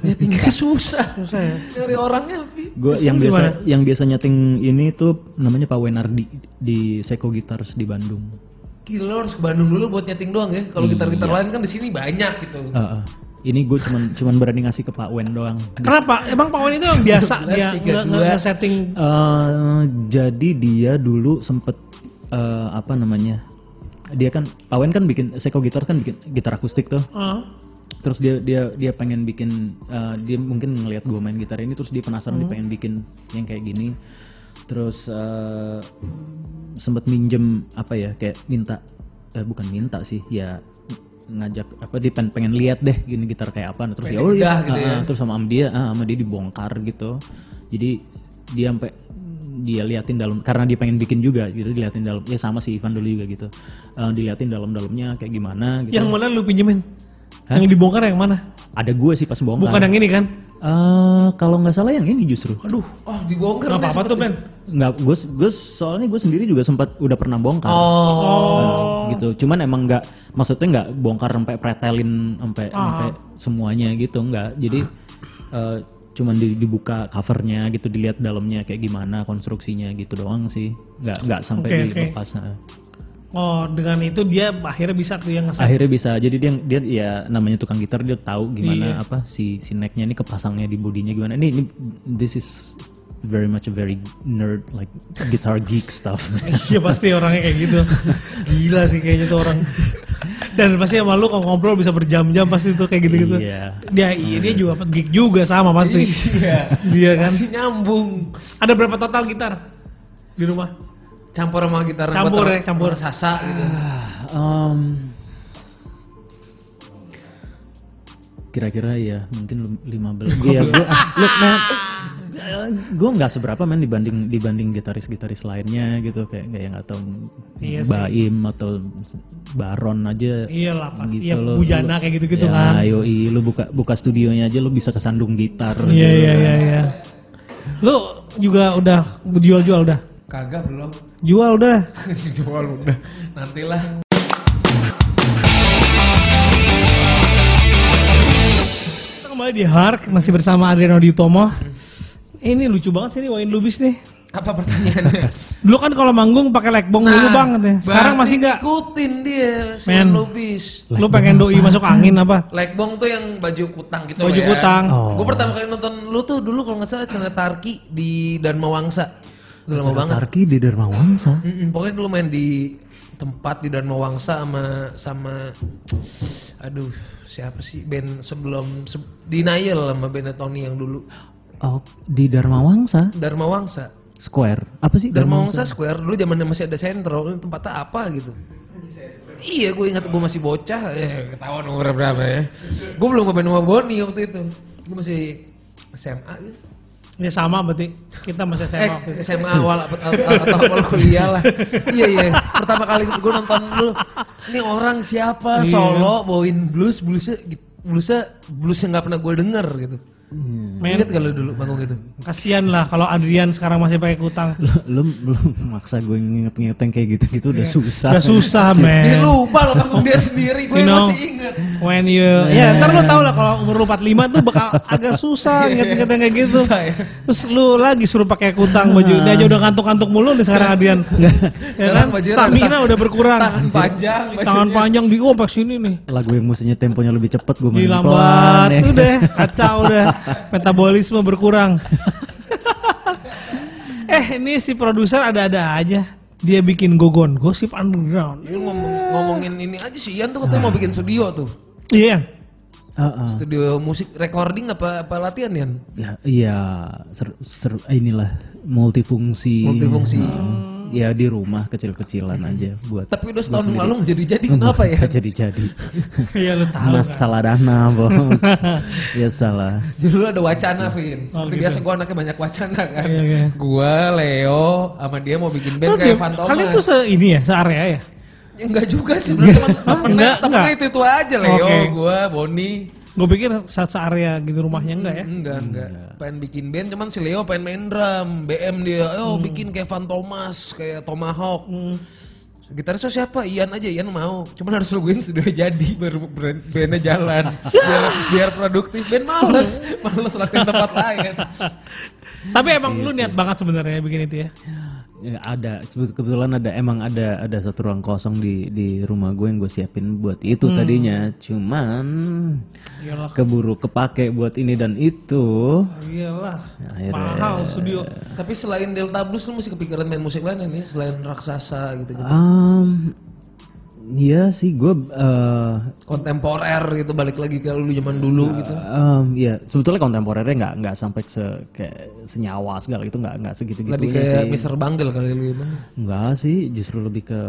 B: Nyetingnya susah.
A: Iya. Susah ya.
B: Nyari orangnya Vin.
C: Gue yang biasa yang biasa nyeting ini tuh namanya Pak Wenardi di Seko Guitars di Bandung.
B: Gila lo harus ke Bandung dulu buat nyeting doang ya.
A: Iya.
B: Kalau gitar-gitar lain kan di sini banyak gitu.
C: Heeh. Eh, ini gue cuman cuman berani ngasih ke Pak Wen doang.
A: Kenapa? Emang Pak Wan itu yang biasa dia
B: 1932.
A: nge- nge- nge-setting
C: Eh, jadi dia dulu sempet eh, apa namanya? Dia kan Pak Wen kan bikin Seko Gitar kan bikin gitar akustik tuh.
A: eh,
C: Gitu. Terus dia dia dia pengen bikin eh, dia mungkin ngelihat gue main gitar ini terus dia penasaran dia pengen bikin yang kayak gini. Terus eh, sempet minjem apa ya kayak minta eh, bukan minta sih ya ngajak apa dia pengen, pengen lihat deh gini gitar kayak apa terus ya oh
B: bedah
C: iya
B: gitu
C: ah, ah. terus sama am dia ah, sama dia dibongkar gitu jadi dia sampai dia liatin dalam karena dia pengen bikin juga gitu diliatin dalam ya sama si Ivan dulu juga gitu Eh, diliatin dalam-dalamnya kayak gimana gitu
A: yang mana lu pinjemin? Yang dibongkar yang mana?
C: ada gue sih pas bongkar
A: Bukan yang ini kan?
C: Eh, kalau nggak salah yang ini justru. Aduh.
B: Oh dibongkar
A: Gak
B: deh
A: apa-apa tuh, Ben.
C: Nggak, gue gue soalnya gue sendiri juga sempat udah pernah bongkar.
B: Oh,
C: Eh, gitu. Cuman emang nggak, maksudnya nggak bongkar sampai pretelin sampai sampai semuanya gitu nggak. Jadi eh, cuman di- dibuka covernya gitu, dilihat dalamnya kayak gimana konstruksinya gitu doang sih. Nggak nggak sampai
A: Oke, oke.
C: dilepas. nah.
A: Oh, dengan itu dia akhirnya bisa tuh yang nge
C: Akhirnya bisa. Jadi dia dia ya namanya tukang gitar dia tahu
A: Iya.
C: gimana apa si si necknya ini kepasangnya di bodinya gimana. Ini ini this is very much a very nerd like guitar geek stuff.
A: Iya pasti orangnya kayak gitu. Gila sih kayaknya tuh orang. Dan pasti sama lu kalau ngobrol bisa berjam-jam pasti tuh kayak gitu-gitu.
C: Iya.
A: Dia iya, dia juga geek juga sama pasti.
B: iya.
A: Dia kan.
B: Masih nyambung.
A: Ada berapa total gitar di rumah?
B: Campur sama gitar
A: Campur ya,
B: buat
A: campur.
B: orang sasa gitu.
A: Ah,
C: Um, kira-kira ya mungkin lim- 15 iya gue look man gue nggak seberapa man dibanding dibanding gitaris-gitaris lainnya gitu kayak kayak nggak tahu
A: Iya sih.
C: Baim atau Baron aja
A: Iya lah, pasti. Iya,
C: gitu loh.
A: bujana kayak gitu-gitu
C: ya,
A: kan.
C: yoi, lu buka buka studionya aja lu bisa kesandung gitar gitu kan.
A: Iya iya iya iya. Lu juga udah jual-jual udah.
B: Kagak belum.
A: Jual udah.
B: Jual udah. Nantilah.
A: Kita kembali di Hark masih bersama Adriano Ditomo. Ini lucu banget sih nih Wain Lubis nih.
B: Apa pertanyaannya?
A: Dulu kan kalau manggung pakai leg bong dulu
B: Nah,
A: banget ya. Sekarang
B: berarti
A: masih nggak?
B: Ikutin dia, si
A: Men.
B: Lubis.
A: Lu pengen doi masuk angin apa?
B: Legbong tuh yang baju kutang gitu
A: Baju kutang.
C: Oh.
B: Gue pertama kali nonton lu tuh dulu kalau nggak salah acara Tarki di Dharma Wangsa. Udah lama banget.
C: Tarki di Dharma Wangsa
B: Mm-mm, pokoknya dulu main di tempat di Dharma Wangsa sama sama aduh siapa sih band sebelum se- Denial sama band Tony yang dulu
C: oh di Dharma Wangsa
B: Dharma Wangsa
C: Square apa sih
B: Dharma Wangsa Square dulu zamannya masih ada sentro ini tempatnya apa gitu iya gue ingat gue masih bocah eh, ketahuan umur berapa ya gue belum ngeband sama Boni waktu itu gue masih SMA gitu.
A: Ya sama berarti. Kita masih
B: Eh,
A: SMA waktu itu.
B: SMA awal atau, atau awal kuliah lah. iya iya. Pertama kali gue nonton dulu, ini orang
A: Iya.
B: siapa? Solo, bawain blues, bluesnya, bluesnya, blues yang nggak pernah gue denger gitu.
A: Men.
B: Ingat kalau dulu panggung itu?
A: Kasian lah kalau Adrian sekarang masih pakai kutang.
C: lu lu maksa gue nginget-ngingetin kayak gitu-gitu udah susah.
A: Iya. Udah susah, men.
B: Dia lupa lah panggung dia sendiri,
A: Eh.
B: gue
A: You know.
B: masih inget.
A: When you Ya, ntar lu tau lah kalau umur lu 45 tuh bakal agak susah inget-inget yang kayak gitu.
B: Susah ya.
A: Terus lu lagi suruh pakai kutang baju. Dia aja udah ngantuk-ngantuk mulu nih sekarang Adrian. ya kan?
B: Sekarang bajunya
A: Stamina udah berkurang.
B: Tangan panjang,
A: Tangan
B: maksudnya.
A: panjang di opak sini nih.
C: Lagu yang musiknya temponya lebih cepat gue main pelan.
A: Dilambat
C: ya.
A: udah kacau udah metabolisme berkurang. eh ini si produser ada-ada aja. Dia bikin gogon, gosip underground.
B: Lu ngomong, ngomongin ini aja sih, Ian tuh katanya mau bikin studio tuh.
A: Iya.
C: Heeh.
B: Studio musik recording apa apa latihan Ian?
C: Ya, iya, seru, seru, eh, inilah multifungsi.
B: Multifungsi.
C: Hmm. Ya di rumah kecil-kecilan aja buat
B: Tapi udah setahun lalu nggak jadi-jadi, kenapa ya?
C: jadi-jadi.
A: Iya lu tahu.
C: Masalah dana, Bos. ya salah.
B: Jadi lu ada wacana, Vin.
A: Oh,
B: Seperti
A: gitu.
B: biasa gue anaknya banyak wacana kan.
A: Iya, iya.
B: Gue, Leo, sama dia mau bikin
A: Lu
B: band kayak
A: di-
B: Van Thomas.
A: Kalian tuh se ini ya, searea ya.
B: Ya, enggak juga sih, sebenarnya temen- temennya,
A: Enggak,
B: temennya
A: enggak.
B: itu, itu aja, Leo,
A: Oke.
B: gue, Boni.
A: Gue pikir saat searea gitu rumahnya enggak ya.
B: Enggak, enggak. Pengen bikin band, cuman si Leo pengen main drum. BM dia,
A: Hmm.
B: oh bikin kayak Van Thomas, kayak Tomahawk. Gitarisnya siapa? Ian aja, Ian mau. Cuman harus nungguin sudah jadi baru brand- bandnya jalan. biar, biar produktif. Band males, males latihan tempat lain.
C: Iya
A: Tapi emang lu niat banget sebenarnya bikin itu ya.
C: Ya, ada Sebet- kebetulan ada emang ada ada satu ruang kosong di di rumah gue yang gue siapin buat itu tadinya cuman
A: Hmm. Iyalah.
C: keburu kepake buat ini dan itu
A: Iyalah.
B: Ya,
A: Mahal studio.
B: Tapi selain Delta Blues lu masih kepikiran main musik lain ini ya? selain raksasa gitu gitu.
C: um, ya sih gue eh,
B: Kontemporer gitu balik lagi ke lu zaman dulu gitu.
C: em, ya sebetulnya kontemporernya nggak nggak sampai se kayak senyawa segala itu nggak nggak segitu
B: Lebih
C: gitu
B: kayak Mr. Bangle kali lu mah.
C: nggak sih justru lebih ke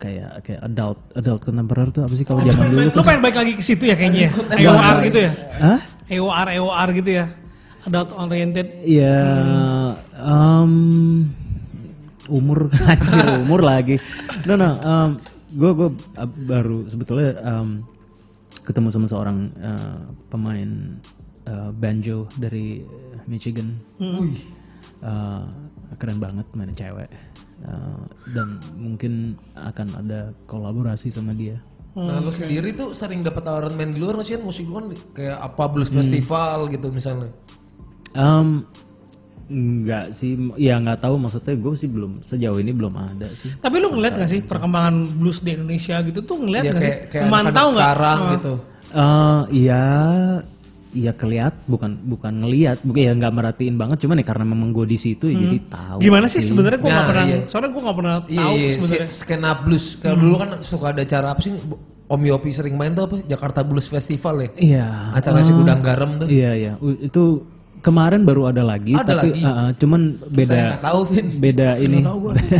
C: kayak kayak adult adult kontemporer tuh apa sih kalau
A: Lu
C: zaman dulu
A: pengen- Lu pengen balik lagi ke situ ya kayaknya. ya? EOR gitu ya.
C: Hah?
A: EOR EOR gitu ya. Adult oriented
C: Ya, em, umur anjir umur lagi. No no, gue gue baru sebetulnya em, ketemu sama seorang eh, pemain eh, banjo dari Michigan.
B: Wih.
C: Eh, keren banget mainnya cewek. Eh, dan mungkin akan ada kolaborasi sama dia.
B: Nah,
A: Hmm.
B: lu sendiri tuh sering dapat tawaran main di luar nggak sih Ian? musik lu kan kayak apa blues festival gitu misalnya.
C: Em enggak sih, ya nggak tahu maksudnya gue sih belum sejauh ini belum ada sih.
A: Tapi lu ngeliat gak sih perkembangan blues di Indonesia gitu tuh ngeliat
B: Ya
A: gak sih?
B: kayak kayak
A: Memantau
B: anak-anak
A: gak?
B: sekarang gitu.
C: eh iya, iya keliat, bukan bukan ngeliat, bukan ya nggak merhatiin banget, cuman ya karena memang gue di situ ya jadi
B: Hmm.
C: tahu.
A: Gimana sih sebenarnya gue gak
B: Nah,
A: pernah,
B: iya.
A: soalnya gue gak pernah
B: Iya,
A: tahu
B: iya,
A: sebenarnya. Hmm.
B: si- skena blues. Kalau dulu kan suka ada acara apa sih? Om Yopi sering main tuh apa? Jakarta Blues Festival ya.
C: Iya,
B: Acara si gudang garam tuh.
C: iya, iya. U- Itu kemarin baru ada lagi,
B: Ada
C: tapi
B: lagi.
C: eh, eh, cuman beda
B: Kita nggak tahu, Vin.
C: beda ini,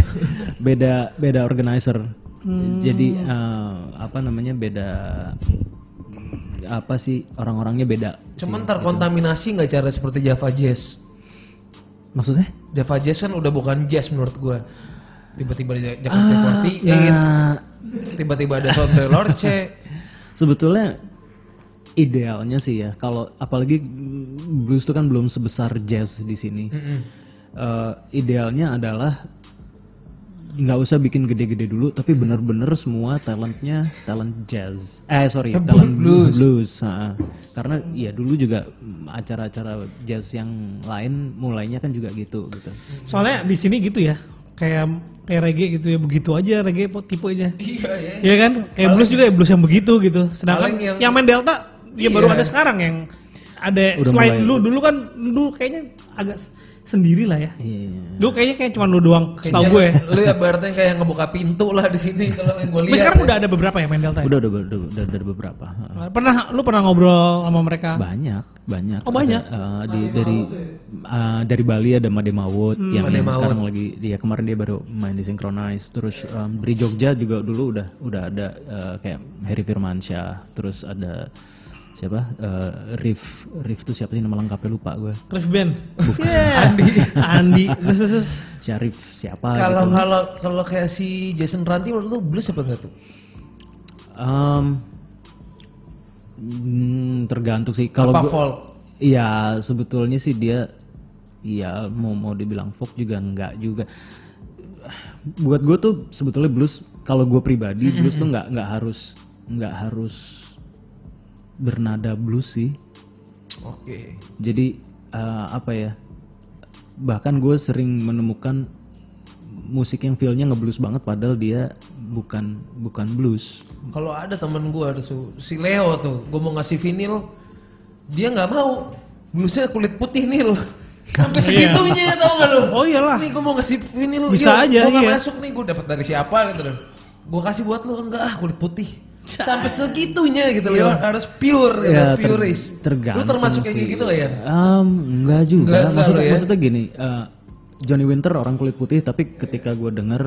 C: beda beda organizer.
B: Hmm.
C: Jadi eh, apa namanya beda apa sih orang-orangnya beda.
B: Cuman terkontaminasi nggak cara seperti Java Jazz?
C: Maksudnya?
B: Java Jazz kan udah bukan jazz menurut gue. Tiba-tiba ada
A: Ah,
B: Jakarta 48,
A: iya.
C: Ya,
B: tiba-tiba ada Sondre Lorce.
C: Sebetulnya idealnya sih ya kalau apalagi blues itu kan belum sebesar jazz di sini. Eh, idealnya adalah nggak usah bikin gede-gede dulu, tapi bener-bener semua talentnya talent jazz. Eh sorry, talent blues. ha. Karena ya dulu juga mm, acara-acara jazz yang lain mulainya kan juga gitu gitu.
A: Soalnya di sini gitu ya, kayak kayak reggae gitu ya begitu aja reggae po- tipe aja.
B: iya, iya.
A: Iya kan? Kayak blues juga ya blues yang begitu gitu. Sedangkan
B: Paling
A: yang,
B: yang- Iya.
A: main Delta ya baru ada sekarang yang ada
C: Udah
A: selain
C: mulai.
A: lu dulu kan lu kayaknya agak s- sendiri lah ya.
C: Iya.
A: Dulu kayaknya kayak cuma lu doang, setahu gue. ya.
B: Lu ya berarti kayak ngebuka pintu lah di sini kalau yang gue
A: Tapi
B: lihat.
A: sekarang udah ada beberapa ya main Delta. Ya?
C: iya. Udah udah udah, udah, udah ada beberapa. ha.
A: Pernah lu pernah ngobrol sama mereka?
C: banyak banyak
A: Oh, banyak?
C: Ada, eh, di, dari eh, dari Bali ada Made Mawut yang sekarang lagi dia kemarin dia baru main di Synchronize terus em, dari Jogja juga dulu udah udah ada eh, kayak Heri Firmansyah terus ada siapa Eh, Rif Rif tuh siapa sih nama lengkapnya lupa gue
A: Rif Ben. Yeah. Andi. Andi. Terus, terus, terus.
C: Syarif siapa
A: Ah,
B: Kalau
A: gitu.
B: kalau kalau kayak si Jason Ranti menurut lu blues apa enggak tuh?
C: Em, mm, tergantung sih kalau
B: Apa
C: gua-
B: folk?
C: Iya, sebetulnya sih dia ya mau mau dibilang folk juga enggak juga. Buat gue tuh sebetulnya blues kalau gue pribadi blues tuh nggak nggak harus nggak harus bernada blues sih.
B: Oke.
C: Jadi eh, apa ya? Bahkan gue sering menemukan musik yang feelnya ngeblues banget padahal dia bukan bukan blues.
B: Kalau ada temen gue ada su- si Leo tuh, gue mau ngasih vinil, dia nggak mau. Bluesnya kulit putih nil. Sampai segitunya tau gak lu?
A: Iya. Oh, iyalah.
B: Nih gue mau ngasih vinil.
A: Bisa aja,
B: Gue
A: iya.
B: masuk nih, gue dapat dari siapa gitu loh. Gue kasih buat lu enggak ah kulit putih. Sampai segitunya gitu
A: Iya.
B: loh. Harus pure, gitu,
C: Ya, ter-
B: puris. Lu
C: tergantung
B: termasuk kayak
C: sih.
B: gitu gak ya?
C: Em, enggak juga.
B: Enggak- enggak
C: maksudnya,
B: lo ya?
C: maksudnya gini, eh, Johnny Winter orang kulit putih, tapi ketika gue denger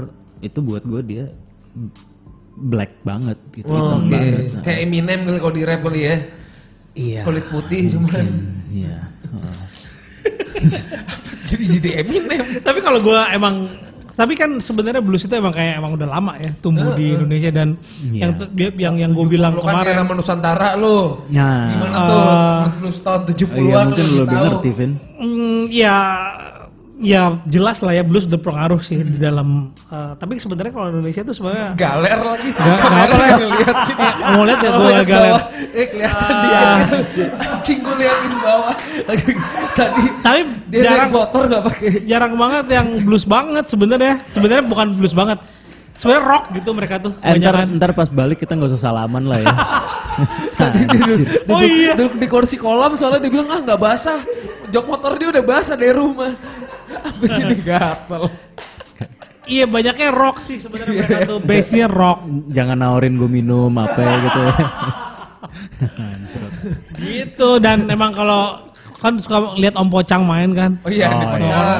C: itu buat gue dia black banget gitu, hitam
B: Oke.
C: banget.
B: Oh, iya, Kayak Eminem kali kalau di rap kali ya.
C: Iya.
B: Kulit putih cuman.
C: Iya. heeh.
B: Jadi jadi Eminem.
A: tapi kalau gua emang tapi kan sebenarnya blues itu emang kayak emang udah lama ya tumbuh di Indonesia dan
C: Iya. ya.
A: yang tu- dia- yang yang gue bilang
B: Lu kan
A: kemarin
B: era Nusantara lu.
C: Nah,
B: Gimana
A: Ah.
B: tuh? Terus tahun 70-an
C: iya mungkin
B: lu
C: lo
B: tahu.
C: denger Tivin.
A: Mm, ya ya jelas lah ya blues udah pengaruh sih di dalam eh, tapi sebenarnya kalau Indonesia itu sebenarnya
B: Galer lagi.
A: Ga-
B: Kamera
A: galer.
B: ngeliat gini.
A: Mau lihat ya
B: Kalau
A: gua
B: lihat
A: galer. Ah.
B: bawah, Eh kelihatan dikit gitu. Anjing gua liatin bawah. Lagi tadi
A: tapi
B: dia naik
A: jarang
B: motor gak pakai.
A: jarang banget yang blues banget sebenarnya sebenarnya bukan blues banget sebenarnya rock gitu mereka tuh
C: Eh, ntar,
A: kebanyakan
C: ntar pas balik kita nggak usah salaman lah ya. Anjir.
A: Ah,
B: Duduk,
A: Oh, iya.
B: duduk di kursi kolam soalnya dia bilang ah nggak basah. Jok motor dia udah basah dari rumah. Apa sih ini gatel?
A: iya banyaknya rock sih sebenarnya
C: Iya,
A: mereka tuh base nya rock
C: Jangan nawarin gue minum apa ya gitu.
A: gitu dan emang kalau kan suka lihat Om Pocang main kan
B: Oh iya, ada pacaran.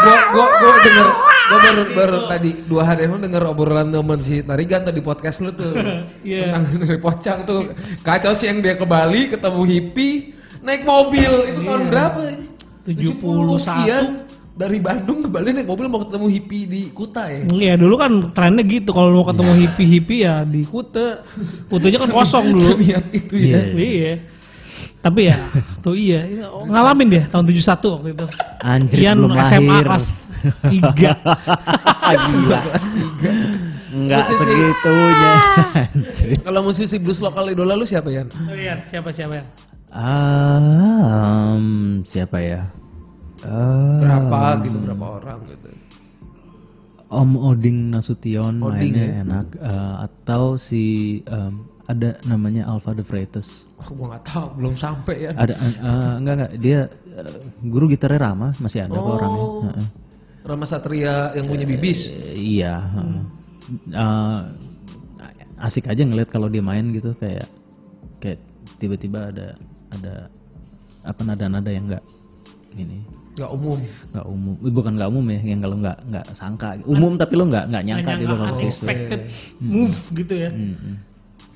B: Gua gua gua denger gua baru baru tadi dua hari yang lalu denger obrolan teman si Tarigan tuh di podcast lu tuh.
A: Iya.
B: Tentang dari Pocang tuh kacau sih yang dia ke Bali ketemu hippie naik mobil itu tahun berapa?
A: 71.
B: sekian. dari Bandung ke Bali naik mobil mau ketemu hippie di Kuta ya.
A: Iya dulu kan trennya gitu kalau lu mau ketemu
C: Iya.
A: hippie hippie ya di Kute Kutenya kan kosong dulu
B: Semiat itu ya.
C: Iya.
A: iya tapi ya tuh iya iya, ngalamin dia tahun 71 waktu itu
C: Anjir
A: Ian
C: belum
A: SMA
C: lahir.
A: kelas 3
C: Gila.
B: Kelas tiga.
C: Enggak
B: Musisi.
C: segitunya.
B: Ah.
C: Anjir.
B: Kalau musisi blues lokal idola lu siapa ya?
A: Eh. siapa siapa ya?
C: Um, siapa ya? Eh,
B: Berapa gitu, berapa orang gitu.
C: Om Oding Nasution
B: Oding,
C: mainnya enak Eh, atau si em, ada namanya Alpha De Freitas.
B: Wah, gua nggak tahu, belum sampai ya.
C: Ada eh, enggak enggak dia eh, guru gitarnya Rama masih ada kok orangnya. Heeh.
B: Rama Satria yang punya bibis.
C: Eh, iya, heeh. Eh, asik aja ngeliat kalau dia main gitu kayak kayak tiba-tiba ada ada apa nada-nada yang enggak ini
B: Gak umum.
C: nggak umum Eh, bukan nggak umum ya yang kalau nggak nggak sangka umum tapi lo nggak nggak nyangka gitu
A: Yang
C: kalau
A: unexpected move gitu ya
C: Hmm,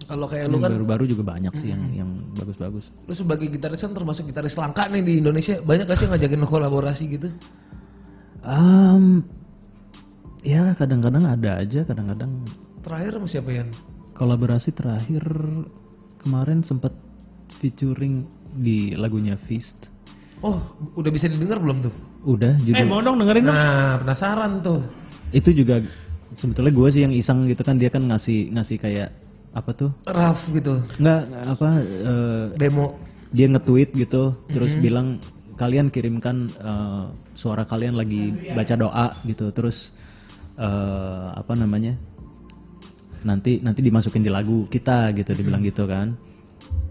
B: Kalau kayak lu kan,
C: baru-baru juga banyak sih yang yang bagus-bagus
B: lu sebagai gitaris kan termasuk gitaris langka nih di Indonesia. Banyak gak sih yang ngajakin lu kolaborasi gitu?
C: Em, ya kadang-kadang ada aja kadang-kadang
B: Terakhir sama siapa Yan?
C: kolaborasi terakhir kemarin sempat featuring di lagunya Feast
B: Oh, udah bisa didengar belum tuh?
C: udah
A: eh
C: judul
A: mau dong dengerin dong
B: Nah, penasaran tuh.
C: itu juga sebetulnya gue sih yang iseng gitu kan dia kan ngasih ngasih kayak apa tuh
B: Raf gitu.
C: nggak apa eh,
B: Demo.
C: dia nge-tweet gitu terus bilang kalian kirimkan eh, suara kalian lagi baca doa gitu terus eh, apa namanya nanti nanti dimasukin di lagu kita gitu dibilang gitu kan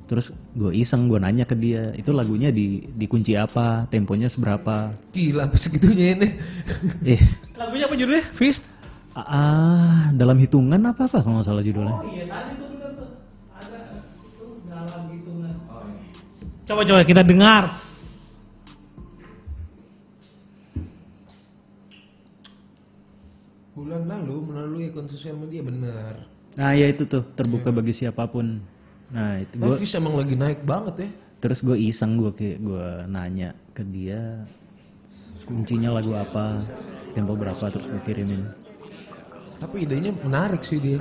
C: terus gue iseng gue nanya ke dia itu lagunya di dikunci apa temponya seberapa
B: Gila, apa segitunya ini?
C: eh
A: lagunya apa judulnya Fist
C: ah dalam hitungan apa apa kalau nggak salah judulnya
A: coba coba kita dengar
B: Bulan lalu melalui akun sosial media bener.
C: nah ya itu tuh terbuka bagi siapapun nah itu gue
B: Rafis emang lagi naik banget ya.
C: terus gue iseng gue gue nanya ke dia kuncinya lagu apa tempo berapa terus gue kirimin
B: Tapi idenya menarik sih dia.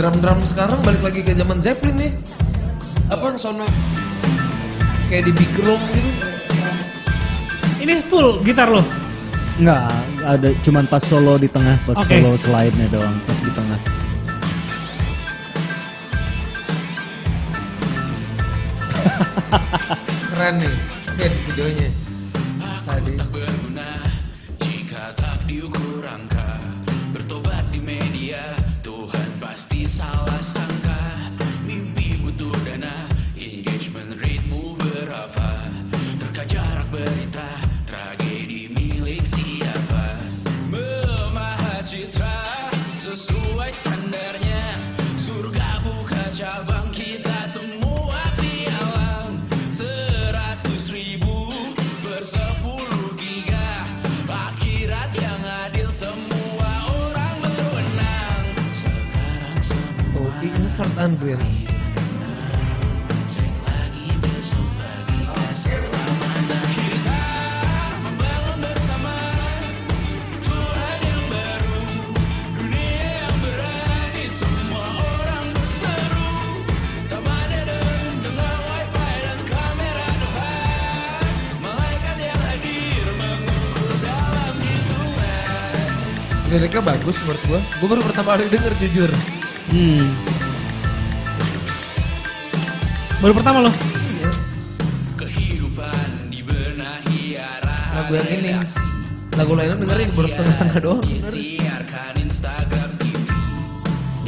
B: drum-drum sekarang balik lagi ke zaman Zeppelin ya. Apa sound kayak di big room gitu.
A: Ini full gitar loh.
C: Enggak, ada cuman pas solo di tengah, pas
A: Oke.
C: solo slide-nya doang, pas di tengah.
B: Keren nih. Lihat videonya. Tadi.
D: berguna jika tak diukur angka bertobat di media Tuhan pasti salah sangka mimpi butuh dana engagement rate-mu berapa terka jarak berita tragedi milik siapa memahat citra sesuai standarnya surga buka cabang kita semua pialang seratus ribu per sepuluh giga akhirat yang adil semua orang berwenang sekarang semua
B: Tuh, insert Andrian.
D: cek lagi besok pagi kasih amanah kita membangun bersama Tuhan yang baru dunia yang berani semua orang berseru tamannya dengan wifi dan kamera Tuhan malaikat yang hadir mengukur dalam hitungan
B: Liriknya bagus menurut gua. Gua baru pertama kali denger jujur.
A: Hmm. Baru pertama loh.
B: Iya.
D: kehidupan dibenahi arah
B: Lagu yang ini. Lagu lainnya dengerin baru setengah-setengah doang sebenarnya.
D: Siarkan Instagram TV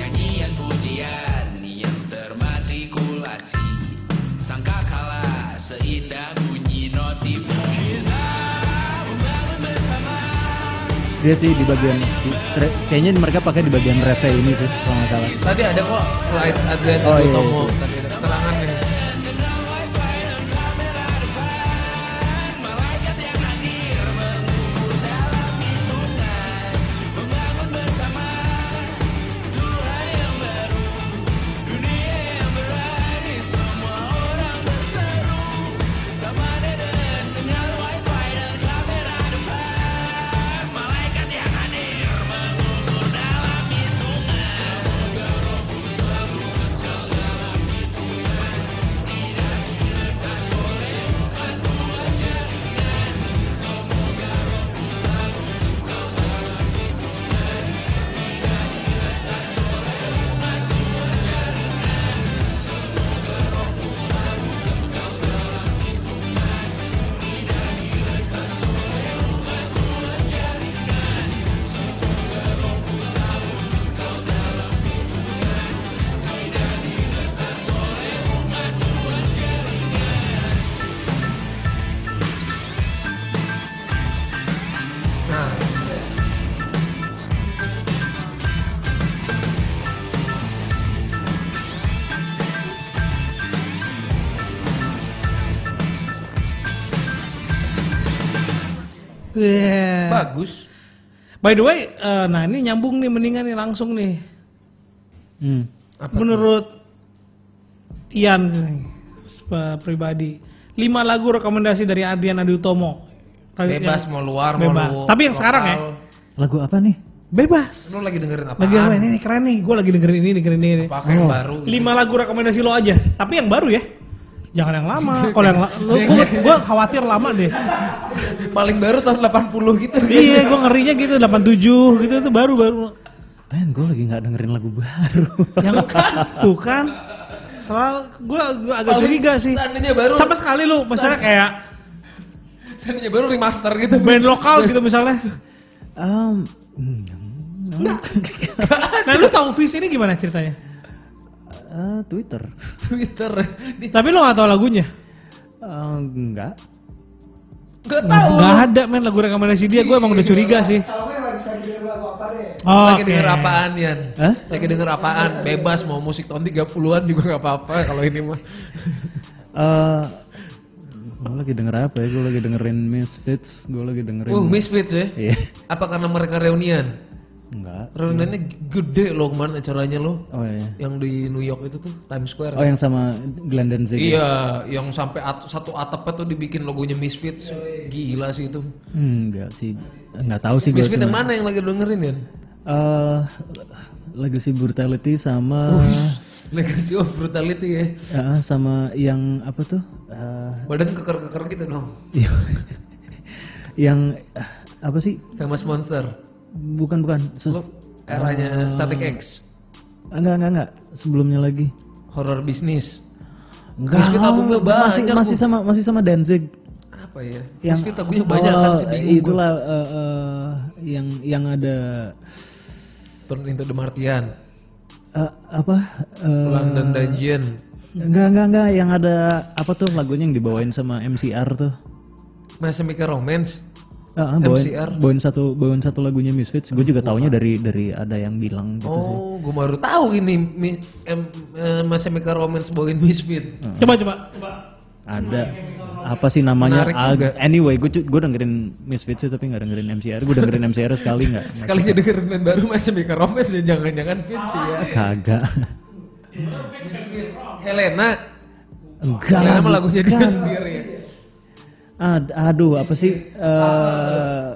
D: Nyanyian pujian yang termatrikulasi Sangka kalah seindah bunyi notif Kita membangun bersama
C: Dia sih di bagian di- re- kayaknya mereka pakai di bagian refnya ini sih kalau nggak salah.
B: Tadi ada kok slide Adrian
C: Oh, iya,
B: Utomo
C: iya.
B: tadi ada keterangannya. Nah,
A: Yeah.
B: bagus.
A: By the way, eh, nah ini nyambung nih mendingan nih langsung nih.
C: Hmm.
B: Apa?
A: Menurut Ian nih, sepe- pribadi, lima lagu rekomendasi dari Adrian Adi Utomo. Lagu
B: Bebas
A: yang-
B: mau luar mau
A: Bebas.
B: lu
A: Tapi yang sekarang ya.
B: lokal.
C: Lagu apa nih?
A: Bebas.
B: Lu lagi dengerin apa?
A: Lagi apa ini Oh. nih keren nih. Gue lagi dengerin ini dengerin ini.
B: Pakai yang baru. gitu.
A: Lima lagu rekomendasi lo aja, tapi yang baru ya. Jangan yang lama. Kalau yang la- lo, gue khawatir lama deh.
B: Paling baru tahun 80 gitu.
A: iya, gue ngerinya gitu 87 gitu tuh baru baru.
C: Ben, gue lagi nggak dengerin lagu baru.
A: Yang tuh kan. Soal gue agak
B: Paling
A: curiga sih.
B: seandainya baru-
A: Sama sekali lu misalnya kayak
B: Seandainya baru remaster gitu.
A: band lokal gitu misalnya.
C: um, hmm,
A: Nah, lu tahu Fish ini gimana ceritanya?
C: eh, Twitter.
B: Twitter. Di-
A: Tapi lu gak tahu lagunya.
C: Eh, enggak.
B: Nggak tahu.
A: Gak ada men lagu rekomendasi dia, gue emang udah curiga sih.
B: Lagi
A: Oke.
B: denger apaan Yan?
C: Hah?
B: Lagi denger apaan? Bebas mau musik tahun 30-an juga nggak apa-apa kalau ini mah.
C: Eh, gue lagi denger apa ya? Gue lagi dengerin Misfits. Gue lagi dengerin.
B: Uh, Misfits ya.
C: Iya.
B: Apa karena mereka reunian?
C: Enggak.
B: Reuniannya gede loh kemarin acaranya loh.
C: Oh iya.
B: Yang di New York itu tuh Times Square.
C: Oh yang sama Glenn Danzig.
B: Iya, yang sampai at- satu atapnya tuh dibikin logonya Misfits. Gila sih itu.
C: Hmm, enggak sih. Enggak tahu sih gue.
B: Misfits yang mana yang lagi dengerin Yan?
C: Eh, Legacy Brutality sama
B: Ah. Oh, iya. Legacy of brutality ya.
C: eh, sama yang apa tuh? Eh, iya.
B: Badan keker-keker gitu dong.
C: yang eh, apa sih?
B: Famous Monster.
C: Bukan bukan. Ses-
B: Eranya Static X.
C: enggak enggak enggak. Sebelumnya lagi.
B: Horror Bisnis.
C: Enggak.
B: Misfit albumnya
C: masih
B: banyak,
C: masih sama masih sama Danzig.
B: Apa ya?
C: yang
B: Yang Misfit lagunya banyak kan
C: awal-
B: sih bingung. gua.
C: Itulah eh, eh, yang yang ada
B: Turn into the Martian.
C: eh, apa? eh,
B: London Dungeon.
C: enggak enggak enggak yang ada apa tuh lagunya yang dibawain sama MCR tuh.
B: Masa Mika Romance.
C: Eh, eh, bawain,
B: MCR.
C: bawain satu bawain satu lagunya Misfits. Gue juga taunya dari dari ada yang bilang gitu sih.
B: Oh, gue baru tahu ini Mi- em- eh, Masa Mika Romance bawain Misfit.
C: Nah, gitu.
A: Coba coba coba.
C: Ada apa sih namanya?
B: Menarik
C: Ah,
B: juga.
C: anyway, gue gue dengerin Misfits sih, tapi nggak dengerin MCR. Gue dengerin MCR sekali nggak?
B: Sekalinya denger band baru Masa Mika Romance dan jangan-jangan Fitch ya.
C: Kagak.
B: Helena.
C: Enggak.
B: Helena mah
C: lah,
B: lagunya dia
C: bukan.
B: sendiri ya.
C: Ad- aduh, apa sih? eh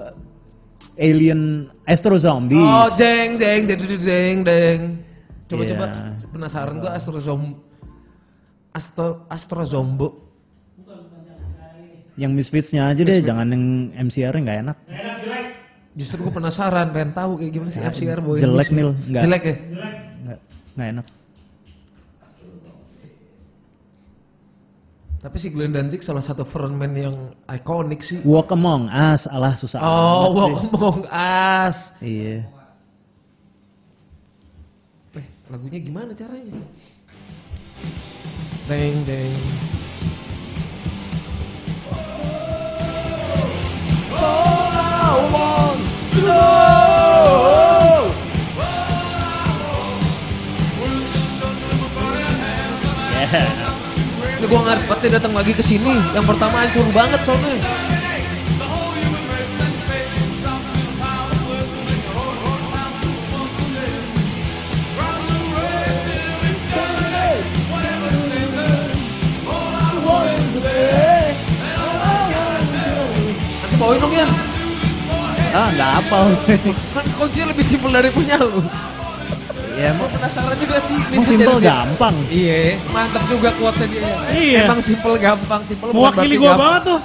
C: alien Astro Zombies.
B: Oh, deng deng deng deng deng. deng. Coba coba
C: Iya.
B: penasaran gua Astro Zombo. Astro Astro Zombo.
C: Yang Misfits-nya aja deh, jangan yang MCR-nya nggak enak.
B: Justru gua penasaran pengen tahu kayak gimana sih FCR boy.
C: jelek, Nil. Nggak.
B: Jelek ya.
C: Nggak, nggak enak.
B: Tapi si Glenn Danzig salah satu frontman yang ikonik sih.
C: Walk Among Us, alah susah
B: Oh,
C: amat
B: Walk
C: sih.
B: Among Us.
C: Iya.
B: Eh, lagunya gimana caranya? Deng deng. Ini gua ngarepet dia datang lagi ke sini. Yang pertama hancur banget soalnya. Nanti bawain dong Yan.
C: Ah, nggak apal.
B: Kan kuncinya lebih simpel dari punya lu.
C: ya
A: Iya,
C: emang,
B: Penasaran juga sih.
C: emang
B: Misfit
C: simple
B: jadi-
C: gampang.
B: Iya, mantap juga quotes dia.
A: Iya.
B: Emang simple gampang, simple bukan
A: Mewakili
B: berarti
A: gua
B: gampang.
A: banget tuh.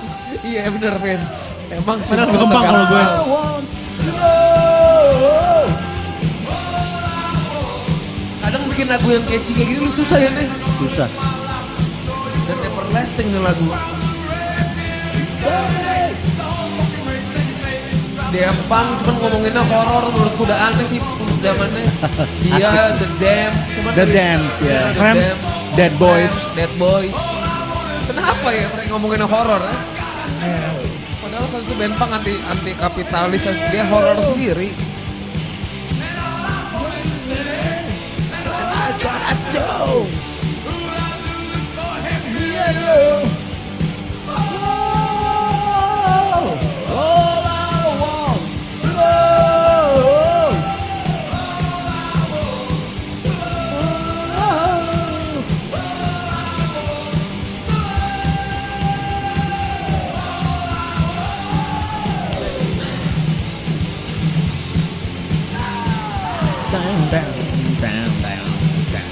B: Iya bener men. Emang simple
A: Padahal
B: atau
A: gampang kalau gue.
B: Kadang bikin lagu yang catchy kayak gini lu susah ya nih.
C: Susah.
B: Dan everlasting nih lagu. Dia pang cuman ngomonginnya horor menurutku udah aneh sih zamannya. Dia The Damn, cuman
C: The
B: dia-
C: Damned, ya.
B: Iya, The
A: Cramps,
B: Damned,
C: Dead Boys.
B: Cramps, Dead Boys. Kenapa ya mereka ngomongin horor ya? Padahal saat itu band punk anti anti kapitalis eh, dia horor sendiri. Aco, aco.
C: Bam, bam, bam, bam, bam.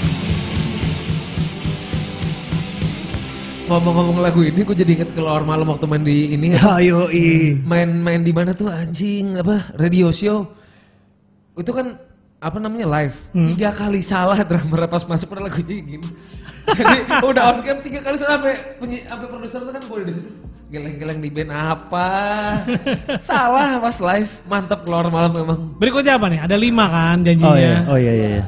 B: Ngomong-ngomong lagu ini, gue jadi inget keluar malam waktu main di ini.
C: Ayo, i.
B: Main-main di mana tuh anjing, apa, radio show. Itu kan, apa namanya, live. Tiga kali salah drummer pas masuk pada lagunya gini. jadi udah on cam tiga kali salah sampai penyi- sampai produser tuh kan gue udah di situ. Geleng-geleng di band apa? salah pas live. Mantap keluar malam memang.
A: Berikutnya apa nih? Ada lima kan janjinya.
C: Oh iya, oh iya, iya. iya.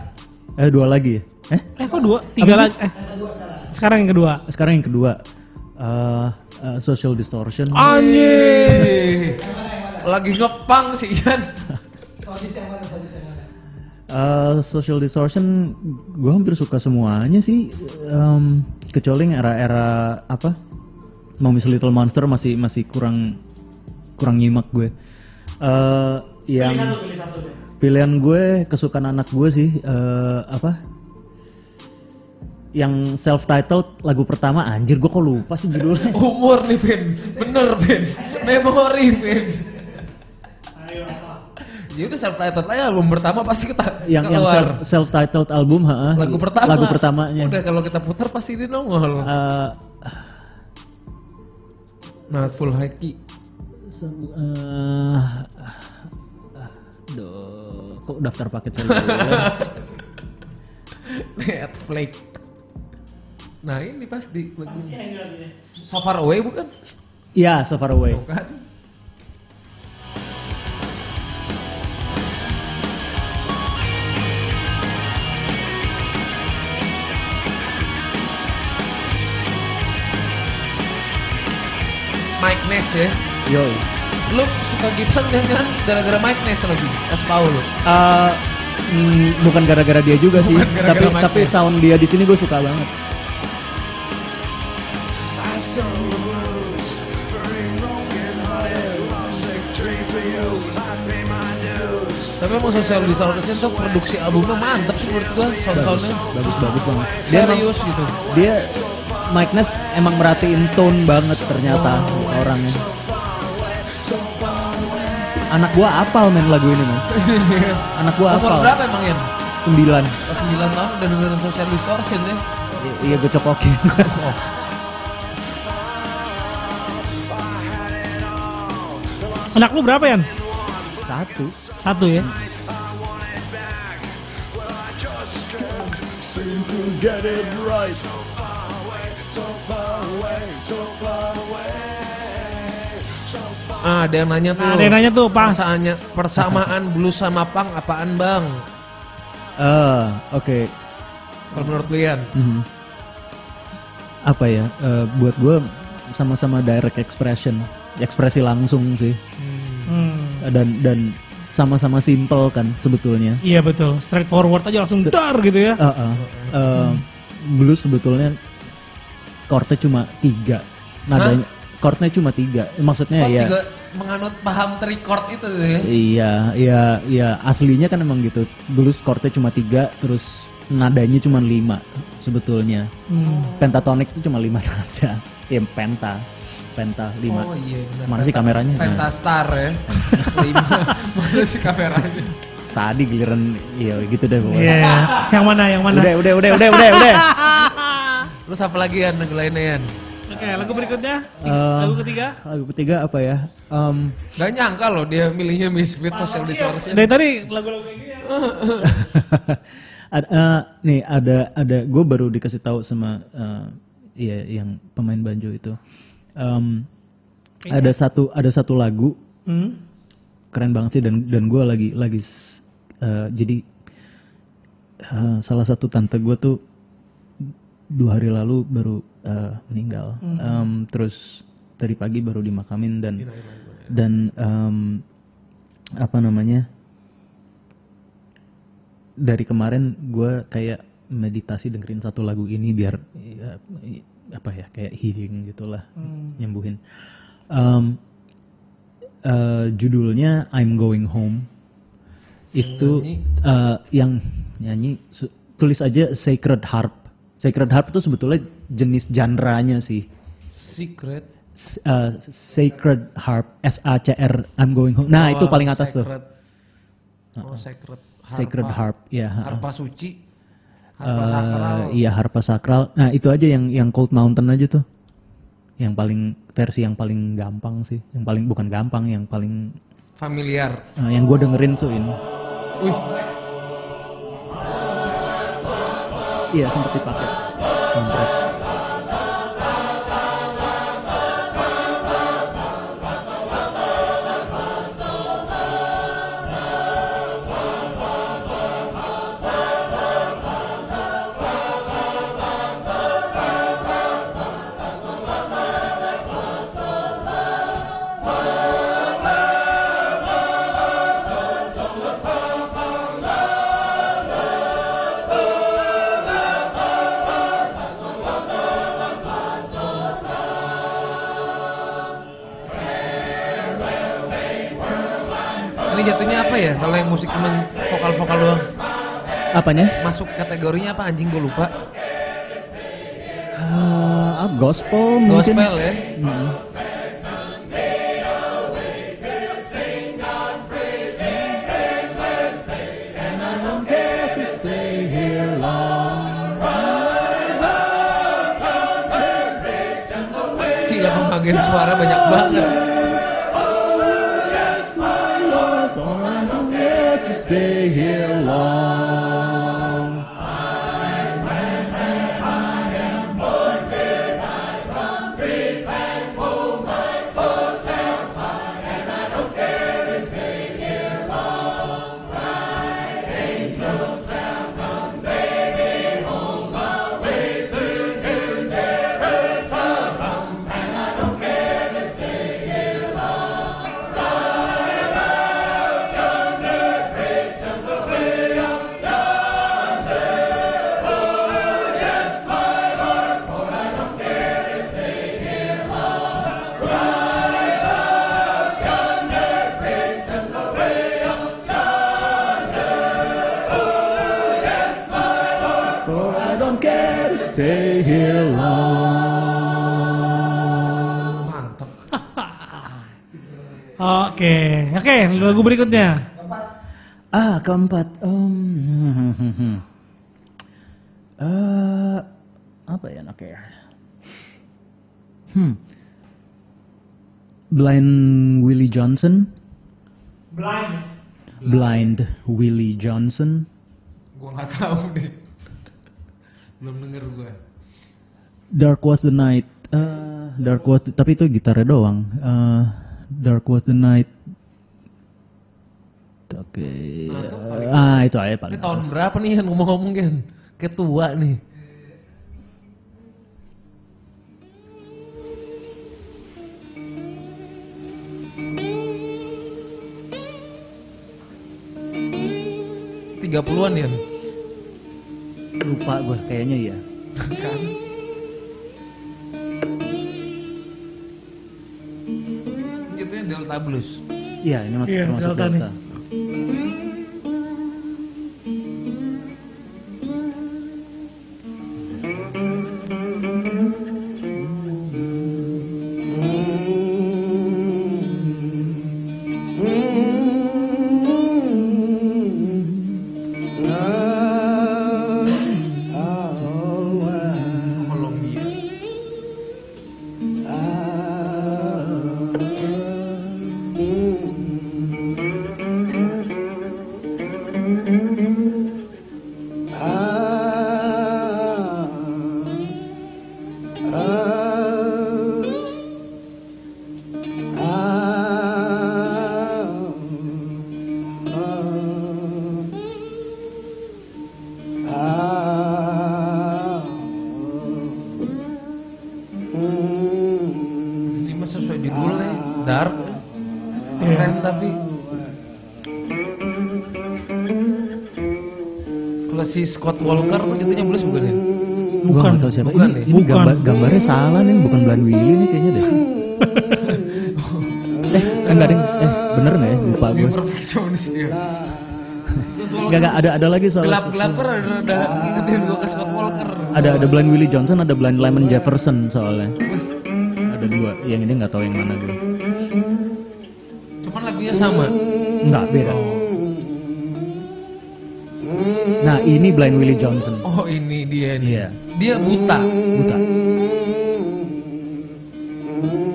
C: Eh, dua lagi ya? Eh?
A: Eh kok dua? Tiga lagi. Eh. Sekarang yang kedua.
C: Sekarang yang kedua, eh, eh, social distortion.
B: Ah, Anjing. Lagi ngepang sih Ian.
C: Eh, social distortion, gue hampir suka semuanya sih, Em, kecuali yang era-era apa? Mommy's Little Monster masih masih kurang kurang nyimak gue. Eh, yang pilihan gue kesukaan anak gue sih eh, apa? Yang self titled lagu pertama anjir gue kok lupa sih judulnya.
B: Umur nih, Vin. Bener, Vin. Memori, Vin. Ya udah self titled aja album pertama pasti kita
C: yang yang
B: keluar.
C: self self titled album ha
B: lagu pertama.
C: lagu pertamanya
B: Udah kalau kita putar pasti ini nongol.
C: Eh,
B: Nah, full haki.
C: eh, aduh kok daftar ya? paket saya
B: Netflix. Nah, ini pasti lagu. So far away bukan?
C: ya so far away
B: Bukan. Mike Ness ya.
C: yo
B: Lu suka Gibson jangan-jangan gara-gara Mike Ness lagi, As Paulo.
C: Eh, mm, bukan gara-gara dia juga sih
B: Bukan gara-gara
C: tapi
B: Mike
C: tapi
B: Ness.
C: sound dia di sini gue suka banget
B: Tapi emang sosial di Soundless tuh produksi albumnya mantap sih menurut gua, sound-soundnya.
C: bagus bagus banget dia emang-
B: Serius gitu.
C: dia Mike Ness emang merhatiin tone banget ternyata orangnya anak gua apal main lagu ini man anak gua
B: Umur
C: apal
B: berapa emang Yan?
C: sembilan
B: Pas 9 tahun udah dengerin social distortion ya.
C: I- iya gue cokokin
B: Oh.
A: Anak lu berapa ya?
C: satu
A: Satu ya.
B: Ah, ada yang nanya tuh.
A: Nah, ada yang nanya tuh, Pang.
B: Persaanya, persamaan blues sama pang apaan bang?
C: eh oke
B: Kalau menurut lu Yan?
C: Mhm. apa ya eh, buat gua sama-sama direct expression ekspresi langsung sih
A: Hmm.
C: dan dan sama-sama simple kan sebetulnya
A: Iya betul. Straightforward aja langsung dar gitu ya.
C: Uh, uh, uh, blues sebetulnya chordnya cuma tiga nadanya chordnya cuma tiga maksudnya
B: Pang
C: ya
B: juga menganut paham terikord itu tuh ya.
C: iya iya iya aslinya kan emang gitu blues chordnya cuma tiga terus nadanya cuma lima sebetulnya
B: Hmm.
C: pentatonik itu cuma lima nada ya penta penta lima
B: Oh iya benar.
C: Mana sih
B: Penta-
C: kameranya? Nah.
B: Pentastar ya. Lima. Mana sih kameranya?
C: Nah, tadi giliran iya gitu deh pokoknya
A: Iya. Yang mana? Yang mana?
C: udah udah udah udah udah udah
B: Terus apa lagi Yan? Lagu lainnya Yan?
A: Oke, lagu berikutnya.
C: Eh.
A: lagu ketiga.
C: lagu ketiga apa ya Em,
B: Gak nyangka loh dia milihnya Misfit Social Distortion.
A: Dari tadi lagu-lagu kayak gini ya.
C: Ad- eh, nih ada ada gue baru dikasih tahu sama eh, iya yang pemain banjo itu Em, ada satu ada satu lagu
A: Hmm.
C: keren banget sih dan dan gue lagi lagi s- eh, jadi eh, salah satu tante gue tuh dua hari lalu baru eh, meninggal Em, terus tadi pagi baru dimakamin dan dan em, apa namanya dari kemarin gue kayak meditasi dengerin satu lagu ini biar ya, i- apa ya kayak healing gitulah nyembuhin Em, eh, judulnya I'm Going Home itu eh, yang nyanyi su- tulis aja Sacred Harp Sacred Harp itu sebetulnya jenis genre-nya sih
B: Secret.
C: S- eh, Sacred Harp S A C R I'm Going Home nah itu paling atas tuh
B: Secret. Oh, Secret.
C: Sacred Harp ya ha.
B: Harpa suci. Harpa sakral.
C: Eh, iya harpa sakral. Nah itu aja yang yang Cold Mountain aja tuh, yang paling versi yang paling gampang sih, yang paling bukan gampang, yang paling
B: Familiar.
C: eh, yang gue dengerin tuh ini.
B: Wih,
C: Iya sempat dipakai. Soundtrack.
B: ini jatuhnya apa ya? Kalau yang musik cuman vokal-vokal doang.
C: Apanya?
B: Masuk kategorinya apa anjing gue lupa.
C: Eh, ah, gospel mungkin.
B: Gospel ya.
C: Mm.
B: gila pembagian suara banyak banget.
E: to stay here long. For I don't care to stay here long.
B: Mantap.
A: Oke, oke, lagu berikutnya.
C: Ah, keempat. Um, eh, apa ya enaknya ya? Hmm. Blind Willie Johnson. Blind. Blind Willie Johnson.
B: Gua nggak tahu deh. Belum denger gua.
C: Dark Was the Night. Eh, Dark Was tapi itu gitarnya doang. Eh, Dark Was the Night. Oke. Ah, itu aja
B: Ini
C: paling.
B: tahun berapa nih yang ngomong-ngomong kan? Ketua nih. Tiga puluhan ya,
C: Lupa gue kayaknya ya.
B: kan? Itu yang Delta Blues.
C: Iya, ini mak-
A: Iya,
C: termasuk
A: Delta
C: Delta.
A: nih.
B: Kolombia. Ini mah sesuai judulnya, dark. Keren tapi kalau si Scott Walker tuh jatuhnya blues bukan ya?
A: Bukan,
C: gua nggak tahu siapa.
B: bukan
C: ini,
B: ya?
C: ini
A: Bukan.
C: gambar gambarnya salah nih, bukan Blind Willy nih kayaknya deh. eh, enggak deh. Eh, bener nggak ya? Lupa
B: Dia
C: gue.
B: perfeksionis dia. Nah, Scott
C: Enggak,
B: Walker
C: enggak, ada ada lagi soal
B: gelap-gelaper ada ada ngingetin gua ke Scott Walker.
C: ada ada Blind Willie Johnson, ada Blind Lemon Jefferson soalnya. Ada dua, yang ini nggak tahu yang mana gue.
B: Cuman lagunya sama.
C: Enggak, beda.
A: Oh.
C: Nah, ini Blind Willie Johnson.
B: Oh ini dia nih.
C: Iya.
B: Dia buta.
C: buta.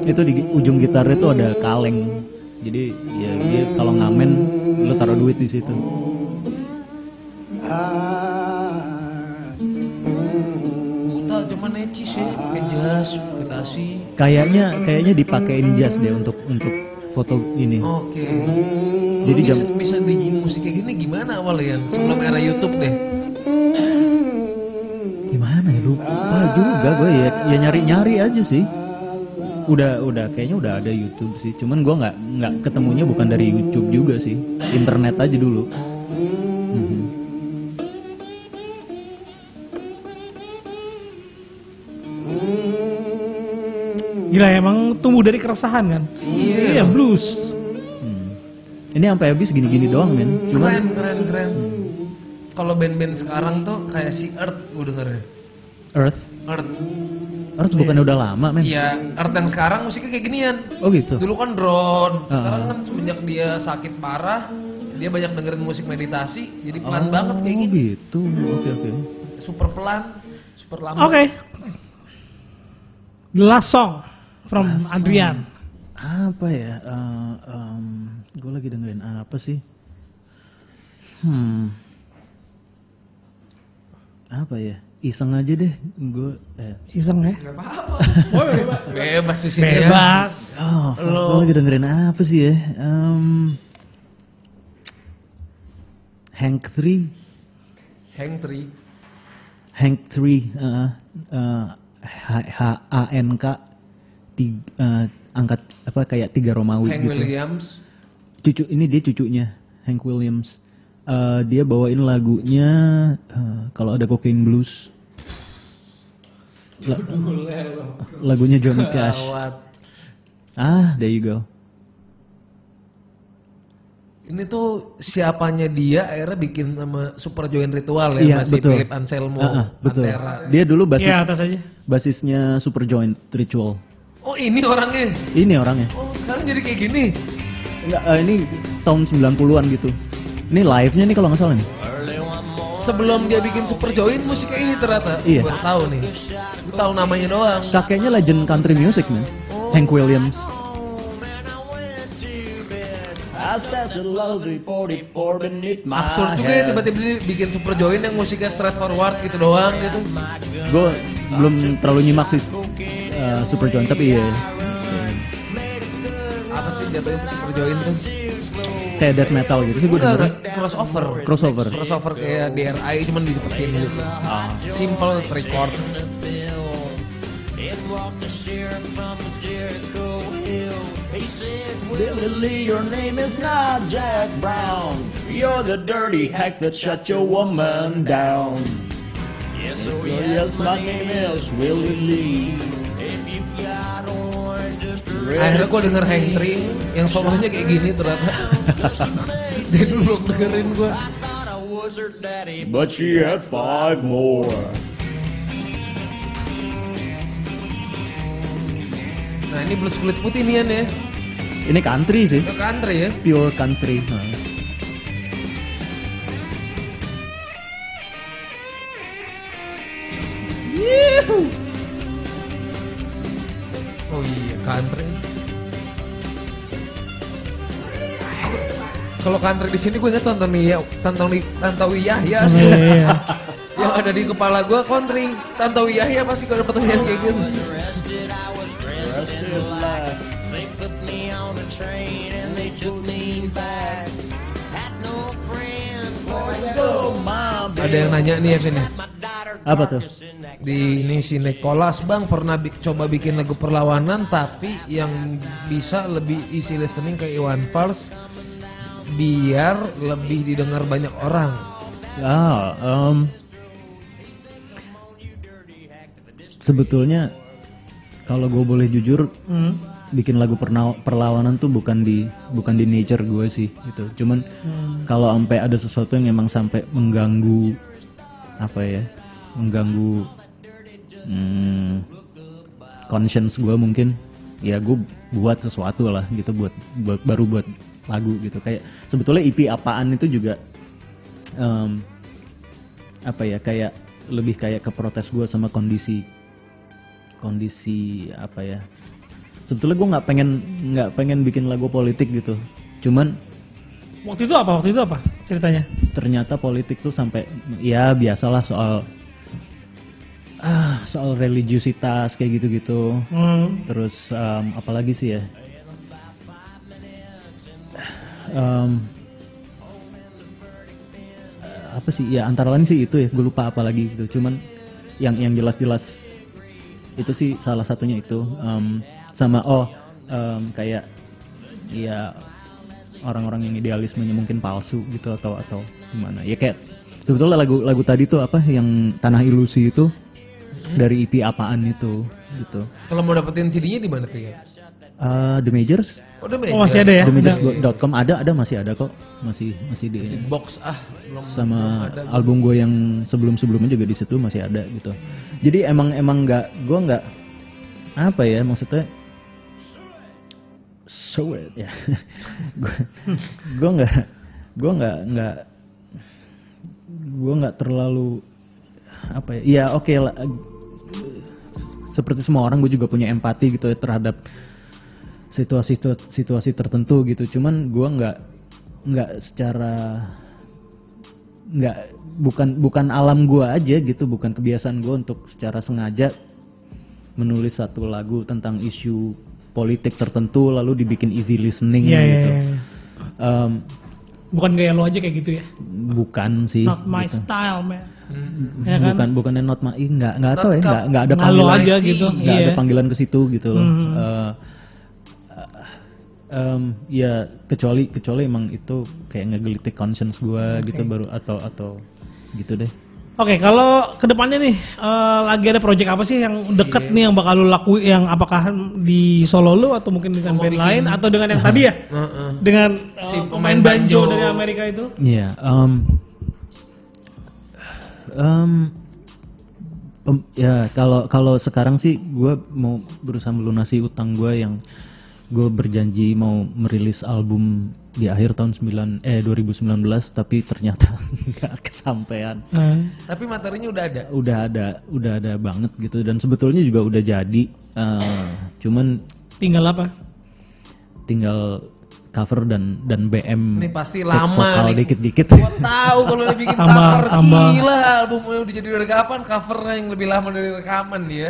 C: Itu di ujung gitarnya tuh ada kaleng. Jadi ya dia kalau ngamen lu taruh duit di situ.
B: Buta cuman necis ya, pakai jas, pakai dasi.
C: Kayaknya kayaknya dipakein jas deh untuk untuk foto ini.
B: Oke.
C: Jadi
B: bisa,
C: jam
B: bisa bikin musik kayak gini gimana awalnya? Yan? Sebelum era YouTube deh.
C: gimana ya lupa juga gue ya ya nyari-nyari aja sih. Udah udah kayaknya udah ada YouTube sih. Cuman gua nggak nggak ketemunya bukan dari YouTube juga sih. Internet aja dulu. Mhm.
A: Gila emang tumbuh dari keresahan kan? Iya, blues.
C: Ini sampai habis gini-gini doang men. Cuman
B: Keren, keren, keren. Kalau band-band sekarang tuh kayak si Earth gue dengernya.
C: Earth
B: Earth.
C: Earth bukannya udah lama men?
B: Iya, Earth yang sekarang musiknya kayak ginian.
C: Oh gitu.
B: Dulu kan drone, sekarang kan semenjak dia sakit parah, dia banyak dengerin musik meditasi, jadi pelan banget kayak
C: Oh
B: gini.
C: gitu. Oke oke.
B: Super pelan, super lambat.
A: Oke. The last song from Adrian.
C: apa ya eh, em, gue lagi dengerin apa sih hmm apa ya iseng aja deh gue eh.
A: Iseng ya.
B: Bebas di sini ya.
A: Bebas.
C: oh gue lagi dengerin apa sih ya Em, Hank 3
B: Hang Tri.
C: Hank 3 eh, eh, H- H- A N K ti- eh, angkat apa kayak tiga Romawi
B: Hank
C: gitu
B: Williams.
C: cucu ini dia cucunya Hank Williams Eh, dia bawain lagunya eh, kalau ada cocaine blues La- lagunya Johnny Cash
B: Gawat.
C: ah there you go
B: Ini tuh siapanya dia akhirnya bikin sama Super Joint Ritual ya,
C: Iya,
B: masih
C: betul.
B: Philip Anselmo,
C: Ah, ah, betul
B: Pantera.
C: dia dulu basis
A: Iya atas aja.
C: basisnya Superjoint Ritual
B: Oh ini orangnya.
C: ini orangnya
B: Oh sekarang jadi kayak gini.
C: Enggak, eh, ini tahun 90-an gitu ini live nya nih kalau nggak salah nih
B: Sebelum dia bikin Super Joint musiknya ini ternyata.
C: Iya.
B: Gua tahu nih. Gue tahu namanya doang.
C: kakeknya legend country music man Hank Williams
F: I stash a lovely 44 beneath my
C: Ah,
B: Absurd juga
C: iya.
B: ya tiba-tiba dia bikin Super Joint yang musiknya straightforward gitu doang gitu.
C: gue belum terlalu nyimak sih eh, Superjoint tapi iya
B: Apa sih jatuhnya Super Joint tuh?
C: kayak death metal gitu sih gue
B: Udah
C: dengerin
B: crossover.
C: crossover Ah.
B: Crossover kayak DRI cuman dicepetin gitu. Simple three chord.
F: Billy Lee, your name is not Jack Brown. You're the dirty hack that shut your woman down. Yes, oh yes, my name is Willie Lee.
B: Akhirnya gue denger Hang 3 yang solonya kayak gini ternyata. Jadi dulu belum dengerin gue.
F: But she had five more.
B: Nah ini blues kulit putih nih Yan, ya.
C: ini country sih
B: Ke country ya.
C: pure country Nah.
B: Oh iya country. Kalau country di sini gue inget Tantowi ya, Tantowi Tantowi Yahya sih. yang ada di kepala gue country Tantowi Yahya pasti kalau ada pertanyaan kayak gitu. Ada yang nanya nih ya ini.
C: apa tuh
B: di ini si Nicholas bang pernah bi- coba bikin lagu perlawanan tapi yang bisa lebih easy listening ke Iwan Fals biar lebih didengar banyak orang
C: ah em, sebetulnya kalau gue boleh jujur bikin lagu perna- perlawanan tuh bukan di bukan di nature gue sih gitu cuman kalau sampai ada sesuatu yang emang sampai mengganggu apa ya mengganggu hmm, conscience gue mungkin ya gue buat sesuatu lah gitu buat, buat baru buat lagu gitu kayak sebetulnya EP apaan itu juga em, apa ya kayak lebih kayak ke protes gue sama kondisi kondisi apa ya sebetulnya gue nggak pengen nggak pengen bikin lagu politik gitu cuman
A: Waktu itu apa? Waktu itu apa ceritanya?
C: ternyata politik tuh sampai ya biasalah soal ah, soal religiusitas kayak gitu-gitu
A: Hmm.
C: terus em, apalagi sih ya Em, eh, apa sih ya antara lain sih itu ya gue lupa apa lagi gitu cuman yang yang jelas-jelas itu sih salah satunya itu Em, sama oh em, kayak ya orang-orang yang idealismenya mungkin palsu gitu atau atau gimana ya kayak sebetulnya lagu lagu tadi tuh apa yang tanah ilusi itu dari IP apaan itu gitu
B: kalau mau dapetin CD-nya di mana tuh ya
C: Eh, The Majors,
B: udah
A: Oh, masih ada ya?
C: TheMajors.com ada, ada masih ada kok, masih masih di
B: di box ah belum
C: sama album gue yang sebelum-sebelumnya juga di situ masih ada gitu. Jadi emang emang nggak, gue nggak apa ya maksudnya so it ya. gue nggak, gue nggak nggak, gue nggak terlalu apa ya? Ya oke lah, seperti semua orang gue juga punya empati gitu ya terhadap situasi situasi tertentu gitu. Cuman gue nggak nggak secara nggak bukan bukan alam gue aja gitu, bukan kebiasaan gue untuk secara sengaja menulis satu lagu tentang isu politik tertentu lalu dibikin easy listening
A: Iya, iya,
C: gitu.
A: iya.
C: Em,
A: Bukan gaya lo aja kayak gitu ya.
C: bukan sih.
A: Not my style, man. Ya kan?
C: bukan bukannya not my enggak enggak tahu ya enggak enggak ada
A: Nggak lo
C: panggilan
A: aja gitu.
C: nggak
A: iya. Hmm.
C: ada panggilan ke situ gitu loh. Eh, em, ya kecuali kecuali emang itu kayak ngegelitik conscience gua gitu baru atau atau gitu deh.
A: Oke, kalau kedepannya nih eh, lagi ada project apa sih yang deket
B: Iya.
A: nih yang bakal lu lakuin? Yang apakah di solo lu atau mungkin di campaign lain atau dengan yang tadi ya?
B: Heeh.
A: Dengan eh,
B: Si
A: pemain
B: pemain
A: banjo
B: banjo.
A: dari Amerika itu?
C: Iya. em, em, pem- ya kalau kalau sekarang sih gue mau berusaha melunasi utang gue yang gue berjanji mau merilis album di akhir tahun 9 eh 2019 tapi ternyata nggak kesampaian.
B: Tapi materinya udah ada.
C: Udah ada udah ada banget gitu dan sebetulnya juga udah jadi. eh, cuman
A: Tinggal apa?
C: tinggal cover dan dan BM
B: Ini pasti
C: take
B: lama
C: Hmm. vokal
B: nih.
C: dikit-dikit.
B: Gua tahu kalau dia bikin
A: Tambah,
B: cover
A: tambah.
B: gila albumnya udah jadi dari kapan covernya yang lebih lama dari rekaman dia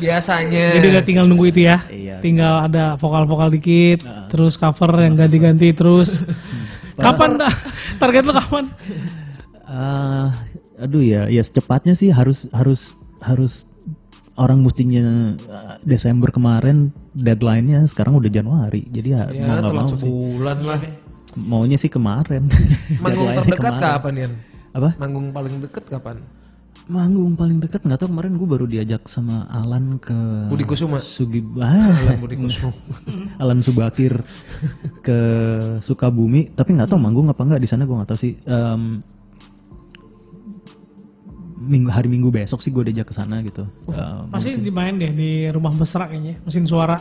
B: biasanya.
A: Jadi udah tinggal nunggu itu ya.
C: Iya.
A: Tinggal ada vokal-vokal dikit, terus cover yang ganti-ganti terus. kapan dah? Target lu kapan?
C: Ah, aduh ya, ya secepatnya sih harus harus harus orang mestinya eh, Desember kemarin deadline-nya sekarang udah Januari. Jadi ya,
B: ya
C: mau nggak
B: telat
C: mau sih.
B: sebulan lah.
C: Maunya sih kemarin.
B: Manggung
C: Deadline-nya
B: terdekat
C: kemarin.
B: kapan Yan?
C: Apa?
B: Manggung paling deket kapan?
C: Manggung paling dekat nggak tahu kemarin gue baru diajak sama Alan ke Ah,
B: Budi Kusuma.
C: Sugib
B: Alan Budi Kusuma.
C: Alan Subakir ke Sukabumi tapi nggak tahu manggung apa nggak di sana gue nggak tahu sih Em, minggu hari minggu besok sih gue diajak ke sana gitu
A: Oh.
C: Em,
A: Masih dimain deh di rumah mesra kayaknya, mesin suara.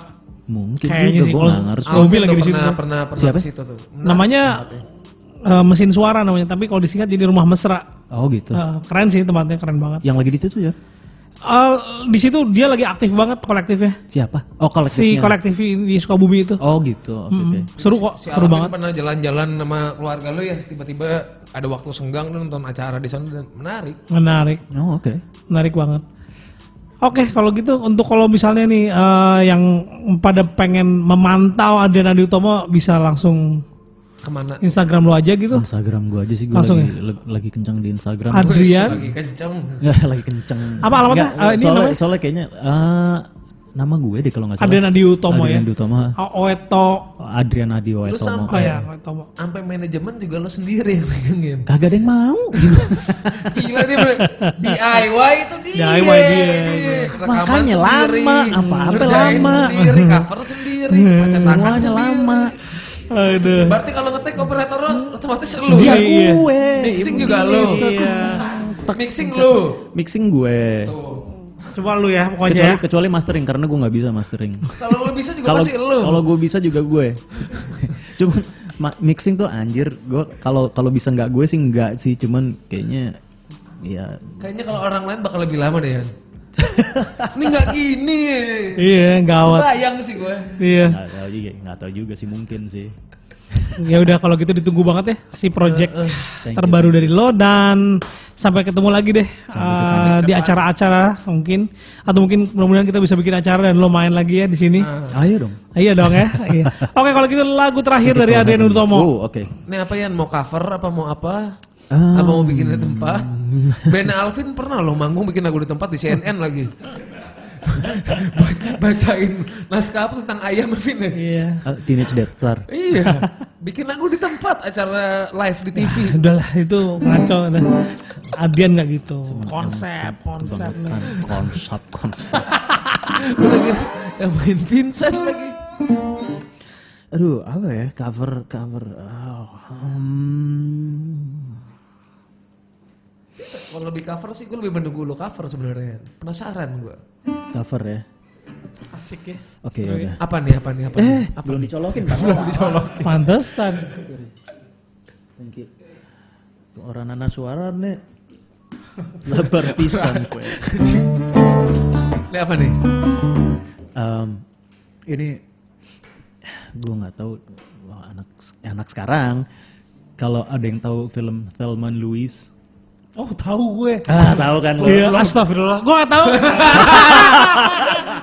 C: mungkin
A: Kayaknya sih
C: juga gue
A: kalau
C: nggak ngerti
A: Scoby
B: Alvin
A: lagi
B: tuh
A: di situ. Nah,
B: Pernah pernah pernah
C: Siapa?
B: ke situ tuh. Nah,
A: namanya
B: ya.
A: eh, mesin suara namanya, tapi kalau disingkat jadi rumah mesra.
C: oh gitu
A: Eh, keren sih tempatnya keren banget.
C: yang lagi di situ ya
A: Eh, di situ dia lagi aktif banget kolektifnya.
C: siapa oh
A: Si Hmm.
C: kolektifnya
A: kolektif di Sukabumi itu.
C: oh gitu oke oke.
A: Seru kok,
B: Si
A: seru
B: Alvin
A: banget.
B: pernah jalan-jalan sama keluarga lu ya, tiba-tiba ada waktu senggang dan nonton acara di sana dan menarik.
A: Menarik,
C: oh oke
A: menarik banget. Oke, kalau gitu untuk kalau misalnya nih eh, yang pada pengen memantau Adrian Adi Utomo bisa langsung
B: Kemana?
A: Instagram lo aja gitu.
C: Instagram gue aja sih gue
A: Langsung ya?
C: lagi, le- lagi kencang di Instagram
A: Ad-
B: Wih,
A: Adrian.
B: lagi kenceng.
C: Nggak, lagi kencang
A: Apa alamatnya?
C: Nggak, nggak,
A: Eh, ini
C: soalnya,
A: namanya?
C: soalnya kayaknya eh, nama gue deh kalau nggak salah
A: Adrian Adi Utomo
C: Adrian
A: ya.
C: Adi Utomo.
A: Oeto.
C: Adrian Adi Waitomo.
A: Oh ya, Oetomo.
B: Sampai manajemen juga lo sendiri yang megangin.
C: Kagak ada yang mau.
B: Gila dia bener. DIY itu dia.
A: DIY dia.
B: Rekaman
C: Makanya lama, apa-apa
B: ngerjain
C: lama. Iya,
B: Sendiri, cover sendiri, percetakan
C: Semuanya
B: sendiri.
C: lama.
A: Aduh.
B: Berarti kalau ngetik operator lo otomatis lu.
A: Iya,
B: ya?
A: iya.
C: Gue.
B: Mixing juga lo.
A: Iya.
B: Mixing lo.
C: Mixing gue.
A: Coba lu ya pokoknya
C: Kecuali
A: ya.
C: kecuali mastering karena gue nggak bisa mastering.
B: Kalau lo bisa juga
C: Kalau
B: pasti lo.
C: kalau gue bisa juga gue. cuman ma- mixing tuh anjir. Gue kalau kalau bisa nggak gue sih nggak sih. Cuman kayaknya ya
B: Kayaknya kalau orang lain bakal lebih lama deh, Yan. Ini nggak gini.
A: Iya, gawat.
B: Bayang sih gue.
A: Iya.
C: nggak tahu juga ya. nggak tahu juga sih mungkin sih.
A: Ya udah kalau gitu ditunggu banget ya si project terbaru dari lo dan sampai ketemu lagi deh eh, di acara-acara mungkin atau mungkin mudah-mudahan kita bisa bikin acara dan lo main lagi ya di sini.
C: Ayo dong.
A: Iya dong ya. Iya. Oke kalau gitu lagu terakhir dari Adrian Utomo.
C: Oh oke.
B: Ini apa Yan? Mau cover apa mau apa?
C: Ah,
B: apa mau bikin di tempat? Ben Alvin pernah loh manggung bikin lagu di tempat di CNN lagi. Bacain naskah apa tentang ayam Alvin ya?
A: Iya.
C: eh, teenage Death Star.
B: Iya. Bikin lagu di tempat acara live di TV.
A: Udahlah itu ngaco udah. Adrian nggak gitu. Konsep, konsep.
C: Kebangetan. Konsep konsep.
B: lagi yang main Vincent lagi.
C: Aduh, apa ya? Cover, cover. ah, hmm.
B: Kalau di cover sih gue lebih menunggu lo cover sebenarnya. Penasaran gue.
C: cover ya.
A: Asik ya.
C: Oke, udah.
B: Apa nih apa nih apa nih? Apa
C: Eh, Belum
B: nih?
C: dicolokin, Pak. Belum
A: Pantesan.
C: Thank you. Orang anak suara nih. Lebar pisan kue.
B: Ini apa nih?
C: Em, ini gue nggak tahu wah, anak anak sekarang kalau ada yang tahu film Thelma and Louise
A: Oh tahu gue.
C: ah tahu kan lo
A: Iya, astagfirullah. Gue gak tahu.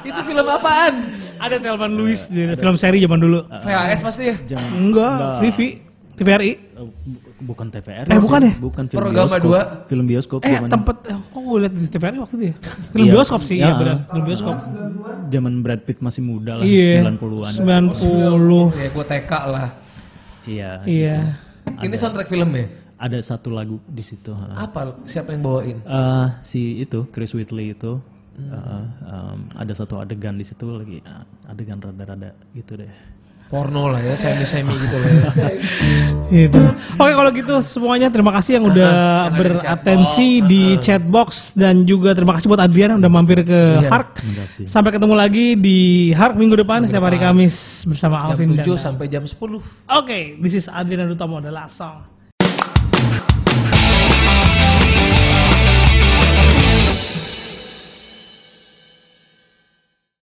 B: Itu film apaan?
A: ada Telman Louis di film seri zaman dulu.
B: VHS pasti ya?
C: jangan
A: Enggak, Vivi, TVRI.
C: eh, bu- bukan TVR
A: Eh, bukan ya?
C: bukan film
B: Pergama
C: bioskop
B: dua.
C: film bioskop
A: Eh,
C: zaman
A: tempat eh, kok gue liat di TVRI waktu itu ya? Film
C: Iya.
A: bioskop sih, iya
C: Ya.
A: benar. Film bioskop. Iya.
C: zaman Brad Pitt masih muda lah 90-an
A: 90.
B: Ya gue TK lah.
C: iya
A: Iya.
B: Ini soundtrack film ya?
C: ada satu lagu di situ ha.
B: Apa? Siapa yang bawain?
C: Eh, si itu Chris Whitley itu eh, em, ada satu adegan di situ lagi eh, adegan rada-rada gitu deh
B: Porno lah ya, semi-semi gitu lah ya.
A: Gitu. Oke kalau gitu semuanya terima kasih yang udah beratensi di chat box dan juga terima kasih buat Adrian yang udah mampir ke Hark. Sampai ketemu lagi di Hark minggu depan setiap hari Kamis bersama
B: Jam
A: Alvin dan
B: 7 sampai jam 10.
A: Oke, this is Adrian Dutomo the last song.